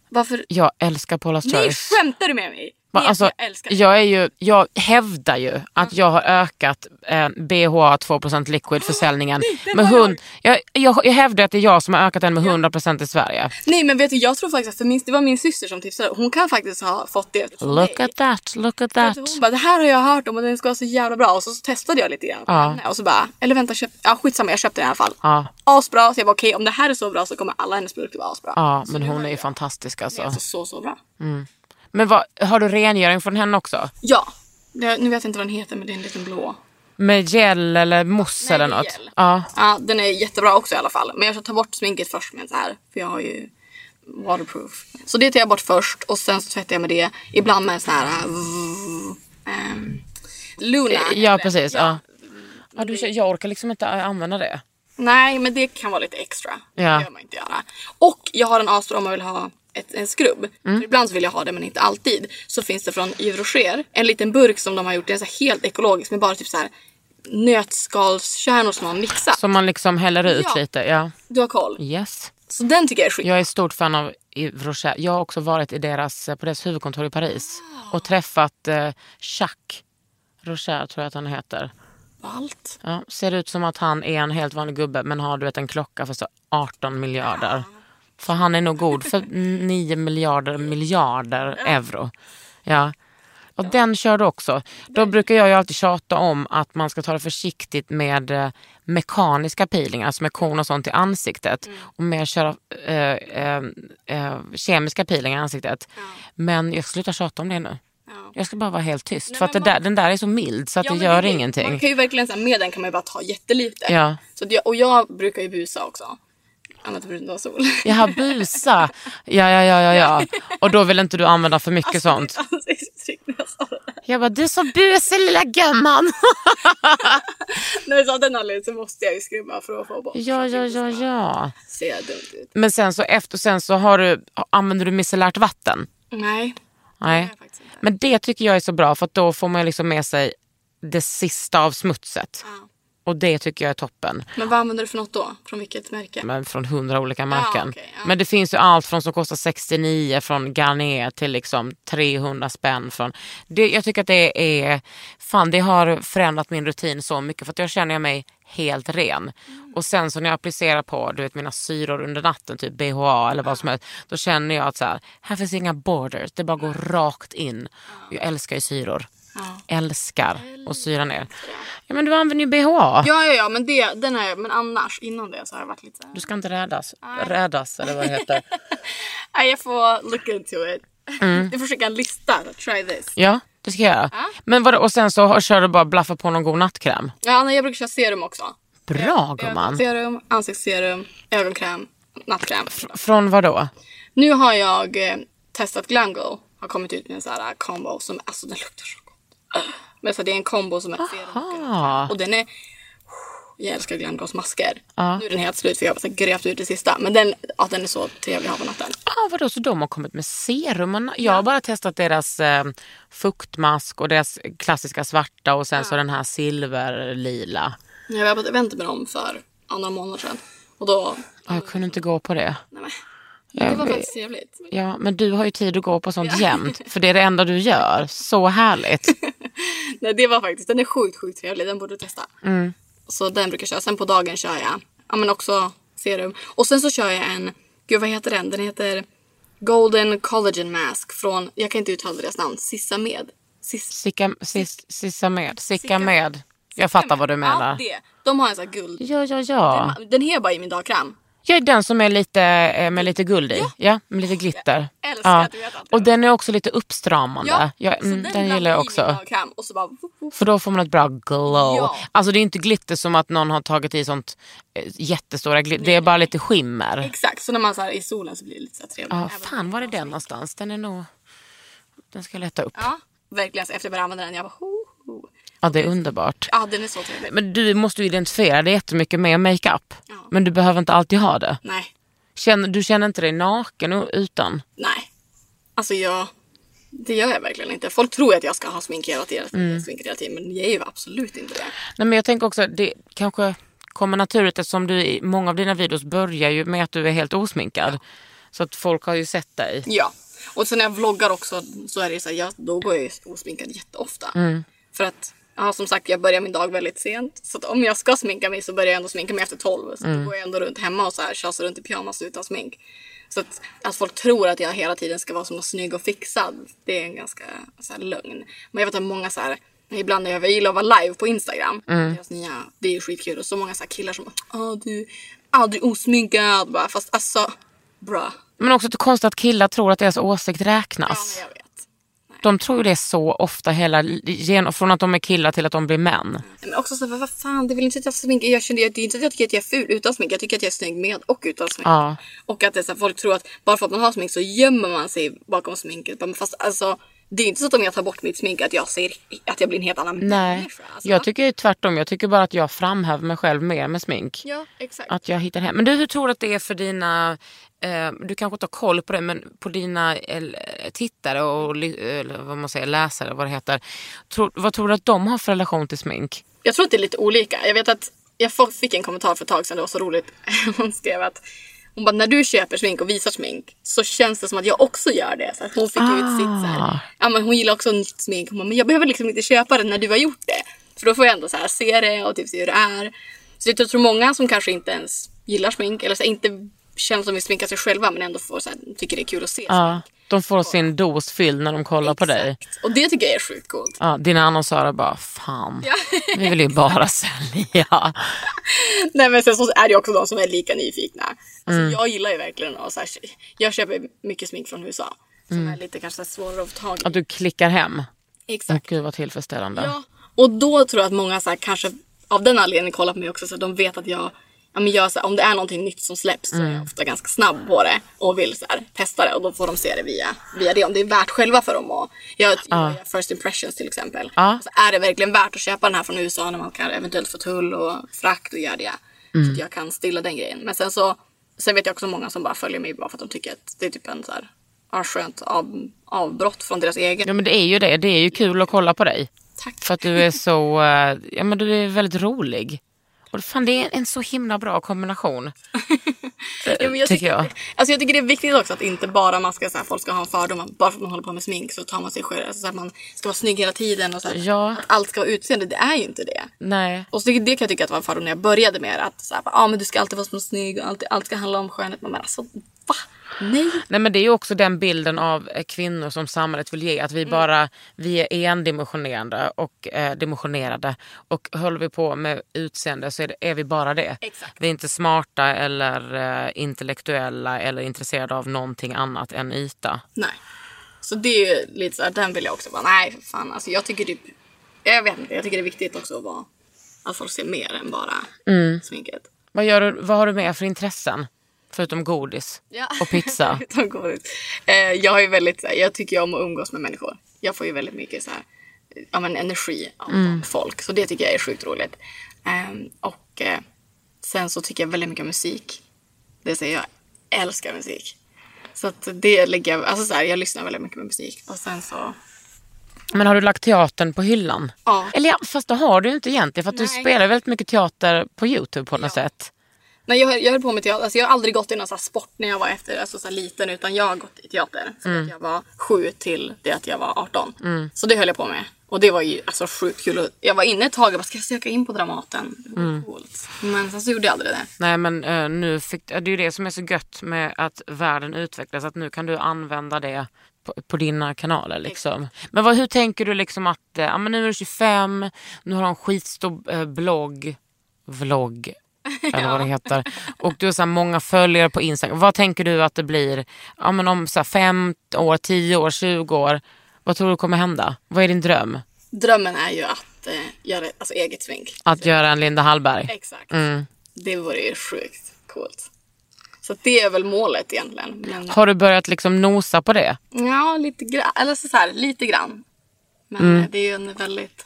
Speaker 4: Varför?
Speaker 1: Jag älskar Paula's
Speaker 4: Nej
Speaker 1: Choice.
Speaker 4: skämtar du med mig?
Speaker 1: Va,
Speaker 4: Nej,
Speaker 1: alltså,
Speaker 4: jag älskar det. Mm.
Speaker 1: jag, är ju, jag hävdar ju att jag har ökat eh, BHA 2% liquid försäljningen. med hund, jag, jag, jag hävdar att det är jag som har ökat den med 100% i Sverige.
Speaker 4: Nej men vet du jag tror faktiskt att för min, det var min syster som tipsade. Hon kan faktiskt ha fått det. från mig.
Speaker 1: Look at that, look at that.
Speaker 4: För att Hon bara det här har jag hört om och den ska vara så jävla bra och så, så testade jag lite grann på
Speaker 1: Ja.
Speaker 4: henne och så bara eller vänta köp, ja skitsamma jag köpte den i alla fall.
Speaker 1: Ja.
Speaker 4: Asbra så jag bara okej om det här är så bra så kommer alla hennes produkter vara asbra.
Speaker 1: Ja, men hon är ju fantastisk
Speaker 4: Det är
Speaker 1: alltså.
Speaker 4: alltså så så bra.
Speaker 1: Men vad, har du rengöring från henne också?
Speaker 4: Ja, det, nu vet jag inte vad den heter men det är en liten blå.
Speaker 1: Med gel eller mousse
Speaker 4: Nej,
Speaker 1: eller
Speaker 4: det är
Speaker 1: något?
Speaker 4: gel.
Speaker 1: Ja.
Speaker 4: Ja, den är jättebra också i alla fall. Men jag ska ta bort sminket först med en så här. För jag har ju waterproof. Så det tar jag bort först och sen så tvättar jag med det. Ibland med en sån här... Äh, Luna.
Speaker 1: Eh, Ja precis. Ja. Ja, du, kör- jag orkar liksom inte äh, använda det.
Speaker 4: Nej, men det kan vara lite extra.
Speaker 1: Ja.
Speaker 4: Det behöver man inte göra. Och jag har en astor om man vill ha ett, en skrubb.
Speaker 1: Mm.
Speaker 4: För ibland så vill jag ha det men inte alltid. Så finns det från Yves Rocher en liten burk som de har gjort. Den är så här helt ekologisk med bara typ så här nötskalskärnor som man har mixat.
Speaker 1: Som man liksom häller ut
Speaker 4: Ja.
Speaker 1: lite. Ja.
Speaker 4: Du har koll.
Speaker 1: Yes.
Speaker 4: Så den tycker jag är skit.
Speaker 1: Jag är stort fan av Yves Rocher. Jag har också varit i deras, eh, på deras huvudkontor i Paris och träffat eh, Jacques Rocher tror jag att han heter.
Speaker 4: Allt.
Speaker 1: Ja, ser ut som att han är en helt vanlig gubbe men har du vet en klocka för så 18 miljarder. För han är nog god för 9 miljarder miljarder euro. Ja. Och den kör du också. Då brukar jag ju alltid tjata om att man ska ta det försiktigt med eh, mekaniska peelingar, alltså med korn och sånt i ansiktet.
Speaker 4: Mm.
Speaker 1: Och mer köra eh, eh, eh, kemiska peelingar i ansiktet. Men jag slutar tjata om det nu. Jag ska bara vara helt tyst. för att det
Speaker 4: men
Speaker 1: där, den där är så mild så att
Speaker 4: Ja,
Speaker 1: det
Speaker 4: men
Speaker 1: gör
Speaker 4: det-
Speaker 1: ingenting.
Speaker 4: Man kan ju verkligen säga med den kan man ju bara ta jättelite.
Speaker 1: Ja.
Speaker 4: Så att jag, och jag brukar ju busa också. Annat än brun sol. (laughs)
Speaker 1: Jaha, busa. Ja, ja, ja, ja, ja. Och då vill inte du använda för mycket
Speaker 4: Alltså,
Speaker 1: sånt.
Speaker 4: Ansiktsuttryck när jag sa det. där.
Speaker 1: Jag bara, du är så busig lilla gumman.
Speaker 4: Nej, så av den anledningen så måste jag ju skrubba för att få bort.
Speaker 1: Ja, ja, ja, ja.
Speaker 4: Ser dumt ut.
Speaker 1: Men sen så efter sen så har du, använder du micellärt vatten.
Speaker 4: Nej.
Speaker 1: Nej.
Speaker 4: faktiskt inte.
Speaker 1: Men det tycker jag är så bra för att då får man liksom med sig det sista av smutset. Och det tycker jag är toppen.
Speaker 4: Men vad använder du för något då? Från vilket märke?
Speaker 1: Men från hundra olika märken.
Speaker 4: Ah, okej, ja.
Speaker 1: Men det finns ju allt från som kostar 69 från Garnier till liksom 300 spänn. Från, det, jag tycker att det är, fan det har förändrat min rutin så mycket för att jag känner mig helt ren.
Speaker 4: Mm.
Speaker 1: Och sen så när jag applicerar på du vet, mina syror under natten, typ BHA eller vad som helst, då känner jag att så här, här finns inga borders, det bara går rakt in. Jag älskar ju syror. Älskar att syra ner. Ja men du använder ju BHA.
Speaker 4: Ja, ja, ja, men det, den är, men annars innan det så har jag varit lite så här-
Speaker 1: Du ska inte rädas. Rädas eller vad det heter.
Speaker 4: Nej, jag får look into it.
Speaker 1: Mm.
Speaker 4: Du får skicka en lista. Try this.
Speaker 1: Ja, det ska jag göra. Men vadå, och sen så har- kör du bara blaffa på någon god nattkräm?
Speaker 4: Ja, nej, jag brukar köra serum också.
Speaker 1: Bra gumman.
Speaker 4: Serum, ansiktsserum, ögonkräm, nattkräm.
Speaker 1: Från vad då?
Speaker 4: Nu har jag eh, testat Glango. Har kommit ut med en sån här combo som, alltså den luktar så gott. Ugh. Men så det är en combo som är serum och en nattkräm. Och den är, jag älskar Glangos masker. Nu är den helt slut för jag har bara så här grävt ut det sista. Men den, ja, den är så trevlig att ha på natten.
Speaker 1: Ah, vadå, så de har kommit med serum? och na- Jag har bara testat deras eh, fuktmask och deras klassiska svarta och sen så den här silverlila.
Speaker 4: Jag var på ett event med dem för ja, några månader sedan. Och då,
Speaker 1: Ah, jag kunde inte gå på det.
Speaker 4: nej men,
Speaker 1: Jag
Speaker 4: det var
Speaker 1: vet.
Speaker 4: faktiskt trevligt.
Speaker 1: Ja, men du har ju tid att gå på sånt jämt. För det är det enda du gör. Så härligt.
Speaker 4: Nej, det var faktiskt, den är sjukt, sjukt trevlig. Den borde du testa.
Speaker 1: Mm.
Speaker 4: Så den brukar jag köra. Sen på dagen kör jag, ja men också serum. Och sen så kör jag en, gud vad heter den? Den heter Golden Collagen Mask från, jag kan inte uttala deras namn, Sissamed.
Speaker 1: (laughs)
Speaker 4: Sis-
Speaker 1: Sicka, sis, sissa med. Sicka med. Jag fattar vad du
Speaker 4: Ja,
Speaker 1: menar.
Speaker 4: det. De har en sån här guld...
Speaker 1: Ja, ja, ja.
Speaker 4: Den här bara i min dagkräm.
Speaker 1: Jag är den som är lite, eh, med lite guld i. Ja. med lite glitter.
Speaker 4: Jag älskar att du vet allt det.
Speaker 1: Och den är också lite uppstramande. Ja,
Speaker 4: så
Speaker 1: mm, den,
Speaker 4: blandar
Speaker 1: gillar jag
Speaker 4: i Min
Speaker 1: också.
Speaker 4: dagkräm och så bara... Woop, woop.
Speaker 1: För då får man ett bra glow.
Speaker 4: Ja.
Speaker 1: Alltså det är inte glitter som att någon har tagit i sånt eh, jättestora glitter. Det är bara lite skimmer.
Speaker 4: Exakt, så när man så här i solen så blir det lite så här trevligt.
Speaker 1: Ja,
Speaker 4: Även-
Speaker 1: fan var är den någonstans? Den är nog... Den ska jag leta upp. Ja,
Speaker 4: Ja, verkligen. Så efter jag började använda den, jag bara... Ho, ho.
Speaker 1: det är underbart.
Speaker 4: Ja, den är så trevlig.
Speaker 1: Men du måste ju identifiera dig jättemycket med makeup.
Speaker 4: Ja.
Speaker 1: Men du behöver inte alltid ha det.
Speaker 4: Nej,
Speaker 1: Känner, du känner inte dig naken och- utan?
Speaker 4: Nej. Alltså jag... Det gör jag verkligen inte. Folk tror att jag ska ha smink hela tiden, smink hela tiden men jag är ju absolut inte det.
Speaker 1: Nej, men jag tänker också, det kanske kommer naturligt eftersom du i många av dina videos börjar ju med att du är helt osminkad. Så att folk har ju sett dig.
Speaker 4: Ja. Och sen när jag vloggar också så är det ju så här, jag, då går jag ju osminkad jätteofta. För att, ja, som sagt, jag börjar min dag väldigt sent. Så att om jag ska sminka mig så börjar jag ändå sminka mig efter tolv. Så då går jag ändå runt hemma och så här tjasar runt i pyjamas utan smink. Så att, att folk tror att jag hela tiden ska vara så himla snygg och fixad, det är en ganska så här, lögn. Men jag vet att många så här, ibland när jag gillar att vara live på Instagram, deras nya, det är ju skitkul. Och så många så här killar som Åh, du är aldrig osminkad. Bara, fast alltså, bra.
Speaker 1: Men också att det är konstigt att killar tror att deras åsikt
Speaker 4: Ja,
Speaker 1: räknas.
Speaker 4: men jag vet. Nej.
Speaker 1: De tror ju det så ofta, hela, gen- från att de är killar till att de blir män.
Speaker 4: Men också så, vad vad fan, det är väl inte så att jag sminkar. Jag känner ju- det är inte att jag tycker att jag är ful utan smink. Jag tycker att jag är snygg med och utan smink.
Speaker 1: Ja.
Speaker 4: Och att det är så här, folk tror att bara för att man har smink så gömmer man sig bakom sminket. Men fast alltså, det är inte så att om jag tar bort mitt smink att jag ser att jag blir en helt annan
Speaker 1: Nej,
Speaker 4: människa. Alltså.
Speaker 1: jag tycker ju tvärtom. Jag tycker bara att jag framhäver mig själv mer med smink.
Speaker 4: Ja, exakt.
Speaker 1: Att jag hittar hem. Men du, hur tror du att det är för dina, eh, du kanske inte har koll på det, men på dina eh, tittare och ly- eller vad man säger, läsare, vad det heter. Tror, vad tror du att de har för relation till smink?
Speaker 4: Jag tror att det är lite olika. Jag vet att jag få- fick en kommentar för ett tag sedan, det var så roligt. (laughs) Hon skrev att hon bara, när du köper smink och visar smink så känns det som att jag också gör det. Så att hon fick ut sitt så här, ja, men hon gillar också nytt smink. Hon bara, men jag behöver liksom inte köpa det när du har gjort det. För då får jag ändå så här, se det och typ se hur det är. Så jag tror många som kanske inte ens gillar smink eller så här, inte känner att de vill sminka sig själva men ändå får, så här, tycker det är kul att se.
Speaker 1: Ja, de får sin dos fylld när de kollar på Ah, dig.
Speaker 4: Exakt. Och det tycker jag är sjukt coolt.
Speaker 1: Ja, dina annonsörer bara, fan, (laughs) vi vill ju bara sälja.
Speaker 4: Nej men sen så är det ju också de som är lika nyfikna. Alltså, Jag gillar ju verkligen att så här, jag köper mycket smink från USA. Som är lite kanske så här svårare att få tag i.
Speaker 1: Att du klickar hem. Åh,
Speaker 4: Exakt.
Speaker 1: Gud vad tillfredsställande.
Speaker 4: Ja. Och då tror jag att många så här, kanske av den anledningen kollar på mig också så att de vet att jag Ja, men jag, så här, om det är någonting nytt som släpps så är
Speaker 1: Mm.
Speaker 4: jag ofta ganska snabb på det och vill så här, testa det och då får de se det via, via det. Om det är värt själva för dem att jag jag gör first impressions till exempel.
Speaker 1: Ja.
Speaker 4: Så är det verkligen värt att köpa den här från USA när man kan eventuellt få tull och frakt och göra det.
Speaker 1: Mm.
Speaker 4: Så att jag kan stilla den grejen. Men sen så sen vet jag också många som bara följer mig bara för att de tycker att det är typ en så här, ja, skönt av, avbrott från deras egen.
Speaker 1: Ja men det är ju det. Det är ju kul att kolla på dig.
Speaker 4: Tack.
Speaker 1: För att du är så, eh, ja men du är väldigt rolig. Och fan det är en så himla bra kombination.
Speaker 4: Ja, men
Speaker 1: tycker
Speaker 4: jag tycker,
Speaker 1: jag.
Speaker 4: Alltså jag tycker det är viktigt också att inte bara man ska, så här, folk ska ha en fördom. att Bara för att man håller på med smink så tar man sig själv. Alltså, så här, man ska vara snygg hela tiden och så här,
Speaker 1: Ja.
Speaker 4: att allt ska ha utseende. Det är ju inte det.
Speaker 1: Nej.
Speaker 4: Och så tycker- det kan jag tycka att var en fördom när jag började med det, att så här, bara, ah, men du ska alltid vara så snygg och alltid, allt ska handla om skönhet. Men alltså va? Nej.
Speaker 1: Nej men det är ju också den bilden av eh, kvinnor som samhället vill ge. Att
Speaker 4: Mm.
Speaker 1: vi bara, vi är endimensionerande och eh, dimensionerade. Och håller vi på med utseende så är, det, är vi bara det.
Speaker 4: Exakt.
Speaker 1: Vi är inte smarta eller eh, intellektuella eller intresserade av någonting annat än yta.
Speaker 4: Nej. Så det är ju lite så här, den vill jag också bara, nej för fan. Alltså jag tycker typ, jag vet inte, jag tycker det är viktigt också att vara, att folk ser mer än bara
Speaker 1: Mm.
Speaker 4: sminket.
Speaker 1: Vad, gör du, vad har du mer för intressen? Förutom godis
Speaker 4: Ja.
Speaker 1: och
Speaker 4: (laughs)
Speaker 1: pizza.
Speaker 4: Utan godis. Eh, jag är väldigt, så här, jag tycker ju om att umgås med människor. Jag får ju väldigt mycket så här, ja, men energi av folk. Så det tycker jag är sjukt roligt. Ehm, och eh, sen så tycker jag väldigt mycket om musik. Det säger jag, älskar musik. Så att det lägger jag, alltså så här, jag lyssnar väldigt mycket på musik. Och sen så,
Speaker 1: Men har du lagt teatern på hyllan?
Speaker 4: Ja.
Speaker 1: Eller ja, fast det har du ju inte egentligen för att du
Speaker 4: Nej.
Speaker 1: spelar väldigt mycket teater på Youtube på något sätt.
Speaker 4: nej jag, höll- jag höll på med teater. Alltså jag har aldrig gått i någon så här sport när jag var efter, alltså så här liten. Utan jag har gått i teater. Från att jag var sju till det att jag var 18. Så det höll jag på med. Och det var ju alltså sjukt kul. Och Jag var inne ett tag och bara, ska jag söka in på Dramaten? Coolt. Men sen så gjorde jag aldrig det.
Speaker 1: Nej men eh, nu fick, det är ju det som är så gött med att världen utvecklas att nu kan du använda det på, på dina kanaler liksom. Men vad, hur tänker du liksom att, eh, ja men nu är du 25, nu har du en skitstor eh, blogg, vlogg eller vad det heter. Och du har så här många följare på Instagram. Vad tänker du att det blir ja, men om så här fem år, tio år, 20 år? Vad tror du kommer hända? Vad är din dröm?
Speaker 4: Drömmen är ju att eh, göra alltså, eget smink.
Speaker 1: Att göra en Linda Hallberg?
Speaker 4: Exakt. Det vore ju sjukt coolt. Så det är väl målet egentligen. Men,
Speaker 1: Har du börjat liksom nosa på det?
Speaker 4: ja, lite grann. Eller så, så här, lite grann. Men eh, det är ju en väldigt...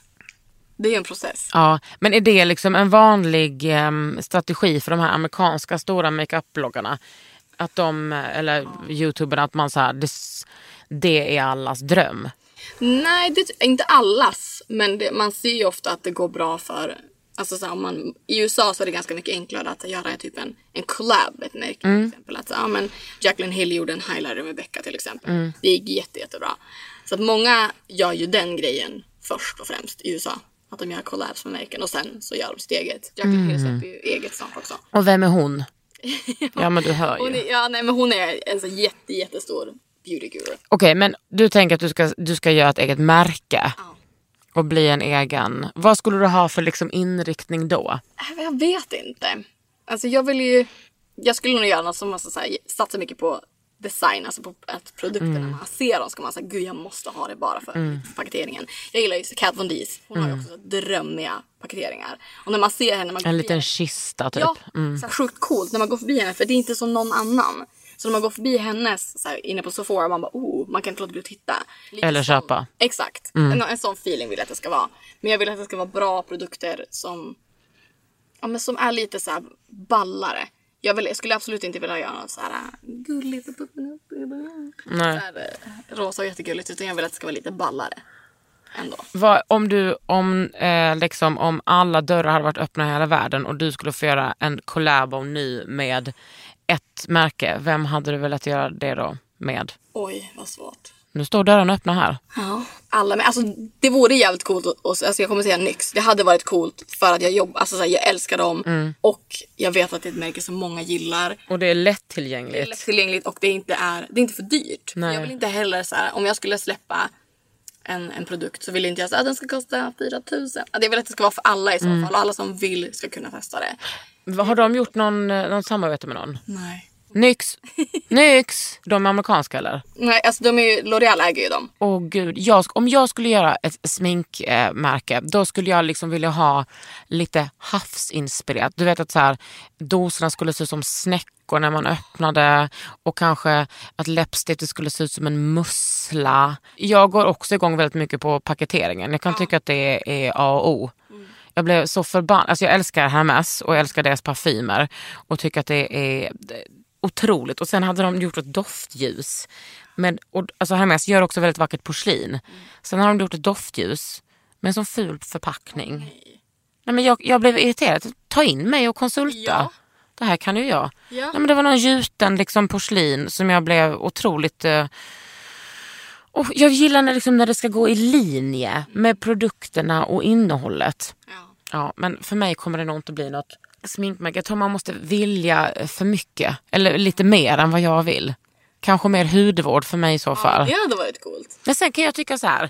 Speaker 4: Det är ju en process.
Speaker 1: Ja, men är det liksom en vanlig em, strategi för de här amerikanska stora makeup-bloggarna? Att de, eh, eller youtuberna, att man så här, det, s- det är allas dröm.
Speaker 4: Nej, det är inte allas. Men det, man ser ju ofta att det går bra för... Alltså så här, om man, I USA så är det ganska mycket enklare att göra typ en, en collab med ett märke. Till exempel. Att, så, ja, men Jacqueline Hill gjorde en highlighter med Becca till exempel. Det gick jätte, jättebra. Så att många gör ju den grejen först och främst i USA. Att de gör collabs med märken och sen så gör de sitt eget. Jacqueline Hill släpper ju eget snart också.
Speaker 1: Och vem är
Speaker 4: (laughs)
Speaker 1: hon? Ja men du hör ju.
Speaker 4: Hon är, ja, nej, men hon är en så jätte, jättestor beauty guru.
Speaker 1: Okej, men du tänker att du ska, du ska göra ett eget märke och bli en egen. Vad skulle du ha för liksom inriktning då?
Speaker 4: Nej, men Äh, Jag vet inte. Alltså jag vill ju... Jag skulle nog göra något som måste så här, satsa mycket på design, alltså på att produkterna
Speaker 1: Mm.
Speaker 4: man ser dem ska man säga gud jag måste ha det bara för paketeringen. Jag gillar ju Kat Von D's, hon har ju också så drömmiga paketeringar. Och när man ser henne, när man går
Speaker 1: Mm. En
Speaker 4: förbi
Speaker 1: liten
Speaker 4: henne-
Speaker 1: kista typ.
Speaker 4: Ja,
Speaker 1: Mm.
Speaker 4: så här sjukt coolt när man går förbi henne för det är inte som någon annan. Så när man går förbi hennes så här, inne på Sephora man bara oh, man kan inte låta bli att titta. Lite
Speaker 1: Eller
Speaker 4: som-
Speaker 1: köpa. Mm.
Speaker 4: Exakt, en, en sån feeling vill jag att det ska vara. Men jag vill att det ska vara bra produkter som, ja, men som är lite så här ballare. Jag, vill, jag skulle absolut inte vilja göra något så här äh, gulligt och puppen upp.
Speaker 1: Nej.
Speaker 4: Så här, eh, rosa och jättegulligt utan jag vill att det ska vara lite ballare. Ändå.
Speaker 1: Vad, om, du, om, eh, liksom, om alla dörrar hade varit öppna i hela världen och du skulle få göra en collab och ny med ett märke, vem hade du velat göra det då med?
Speaker 4: Oj, vad svårt.
Speaker 1: Nu står dörrarna öppna här.
Speaker 4: Ja, alla men Alltså, det vore jävligt coolt. Och, och, alltså, jag kommer säga NYX. Det hade varit coolt för att jag jobbar. Alltså, så här, jag älskar dem. Och jag vet att det är ett märke som många gillar.
Speaker 1: Och det är
Speaker 4: Det är
Speaker 1: lättillgängligt.
Speaker 4: lättillgängligt och det inte är, det är inte för dyrt.
Speaker 1: Nej.
Speaker 4: Jag vill inte heller så här, om jag skulle släppa en, en produkt så vill inte jag säga att den ska kosta 4000. Ja, Det vill att det ska vara för alla i så fall. Och alla som vill ska kunna testa det.
Speaker 1: Har de gjort någon, eh, någon samarbete med någon?
Speaker 4: Nej. (laughs)
Speaker 1: Nyx! Nyx! De är amerikanska eller?
Speaker 4: Nej, alltså de är ju, L'Oreal äger ju dem.
Speaker 1: Åh gud, jag, sk- om jag skulle göra ett sminkmärke eh, märke, då skulle jag liksom vilja ha lite havsinspirerat. Du vet att så här, dosorna skulle se ut som snäckor när man öppnade och kanske att läppstiftet skulle se ut som en mussla. Jag går också igång väldigt mycket på paketeringen. Jag kan tycka att det är A och O. Jag blev så förbannad. Alltså jag älskar Hermes och jag älskar deras parfymer och tycker att det är otroligt. Och sen hade de gjort ett doftljus. Men, och, alltså Hermes gör också väldigt vackert porslin. Sen har de gjort ett doftljus med en sån ful förpackning. nej. men jag, jag blev irriterad. Ta in mig och konsulta.
Speaker 4: Ja.
Speaker 1: Det här kan ju jag.
Speaker 4: Ja.
Speaker 1: Nej, men det var någon gjuten liksom, porslin som jag blev otroligt... Eh, och jag gillar när, liksom, när det ska gå i linje med produkterna och innehållet.
Speaker 4: Ja.
Speaker 1: Ja, men för mig kommer det nog inte bli något sminkmärke. Jag tror man måste vilja eh, för mycket. Eller lite mer än vad jag vill. Kanske mer hudvård för mig i så fall.
Speaker 4: Det hade varit coolt.
Speaker 1: Men sen kan jag tycka så här.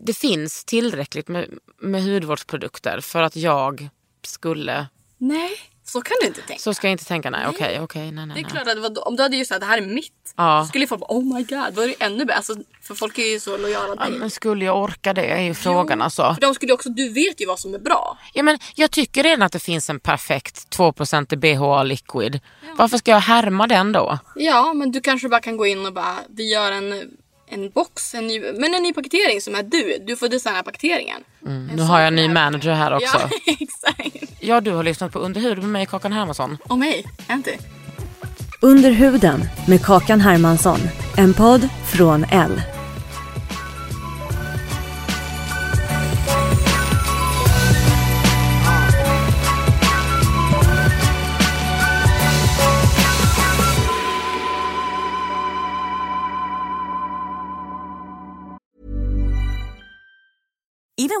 Speaker 1: Det finns tillräckligt med, med hudvårdsprodukter för att jag skulle...
Speaker 4: Nej, så kan du inte tänka.
Speaker 1: Så ska jag inte tänka nej, okej, okej, nej,
Speaker 4: Det
Speaker 1: nej.
Speaker 4: är
Speaker 1: nej.
Speaker 4: klart att vad- om du hade ju sagt det här är mitt.
Speaker 1: Ja.
Speaker 4: Så skulle folk bara oh my god, då är det ju ännu bättre. Alltså, för folk är ju så lojala
Speaker 1: Ja,
Speaker 4: till dig.
Speaker 1: men skulle jag orka det är ju frågan alltså.
Speaker 4: För de skulle ju också, du vet ju vad som är bra.
Speaker 1: Ja, men jag tycker redan att det finns en perfekt 2% BHA liquid. Varför ska jag härma den då?
Speaker 4: Ja, men du kanske bara kan gå in och bara, vi gör en, en box, en ny, men en ny paketering som är du. Du får designa paketeringen.
Speaker 1: Nu har jag en ny manager här också.
Speaker 4: Mm. Ja, (laughs) exakt.
Speaker 1: Ja, du har lyssnat på Underhud med mig, Kakan Hermansson.
Speaker 4: Och mig, Anty.
Speaker 2: Under huden med Kakan Hermansson. En podd från L.
Speaker 6: Even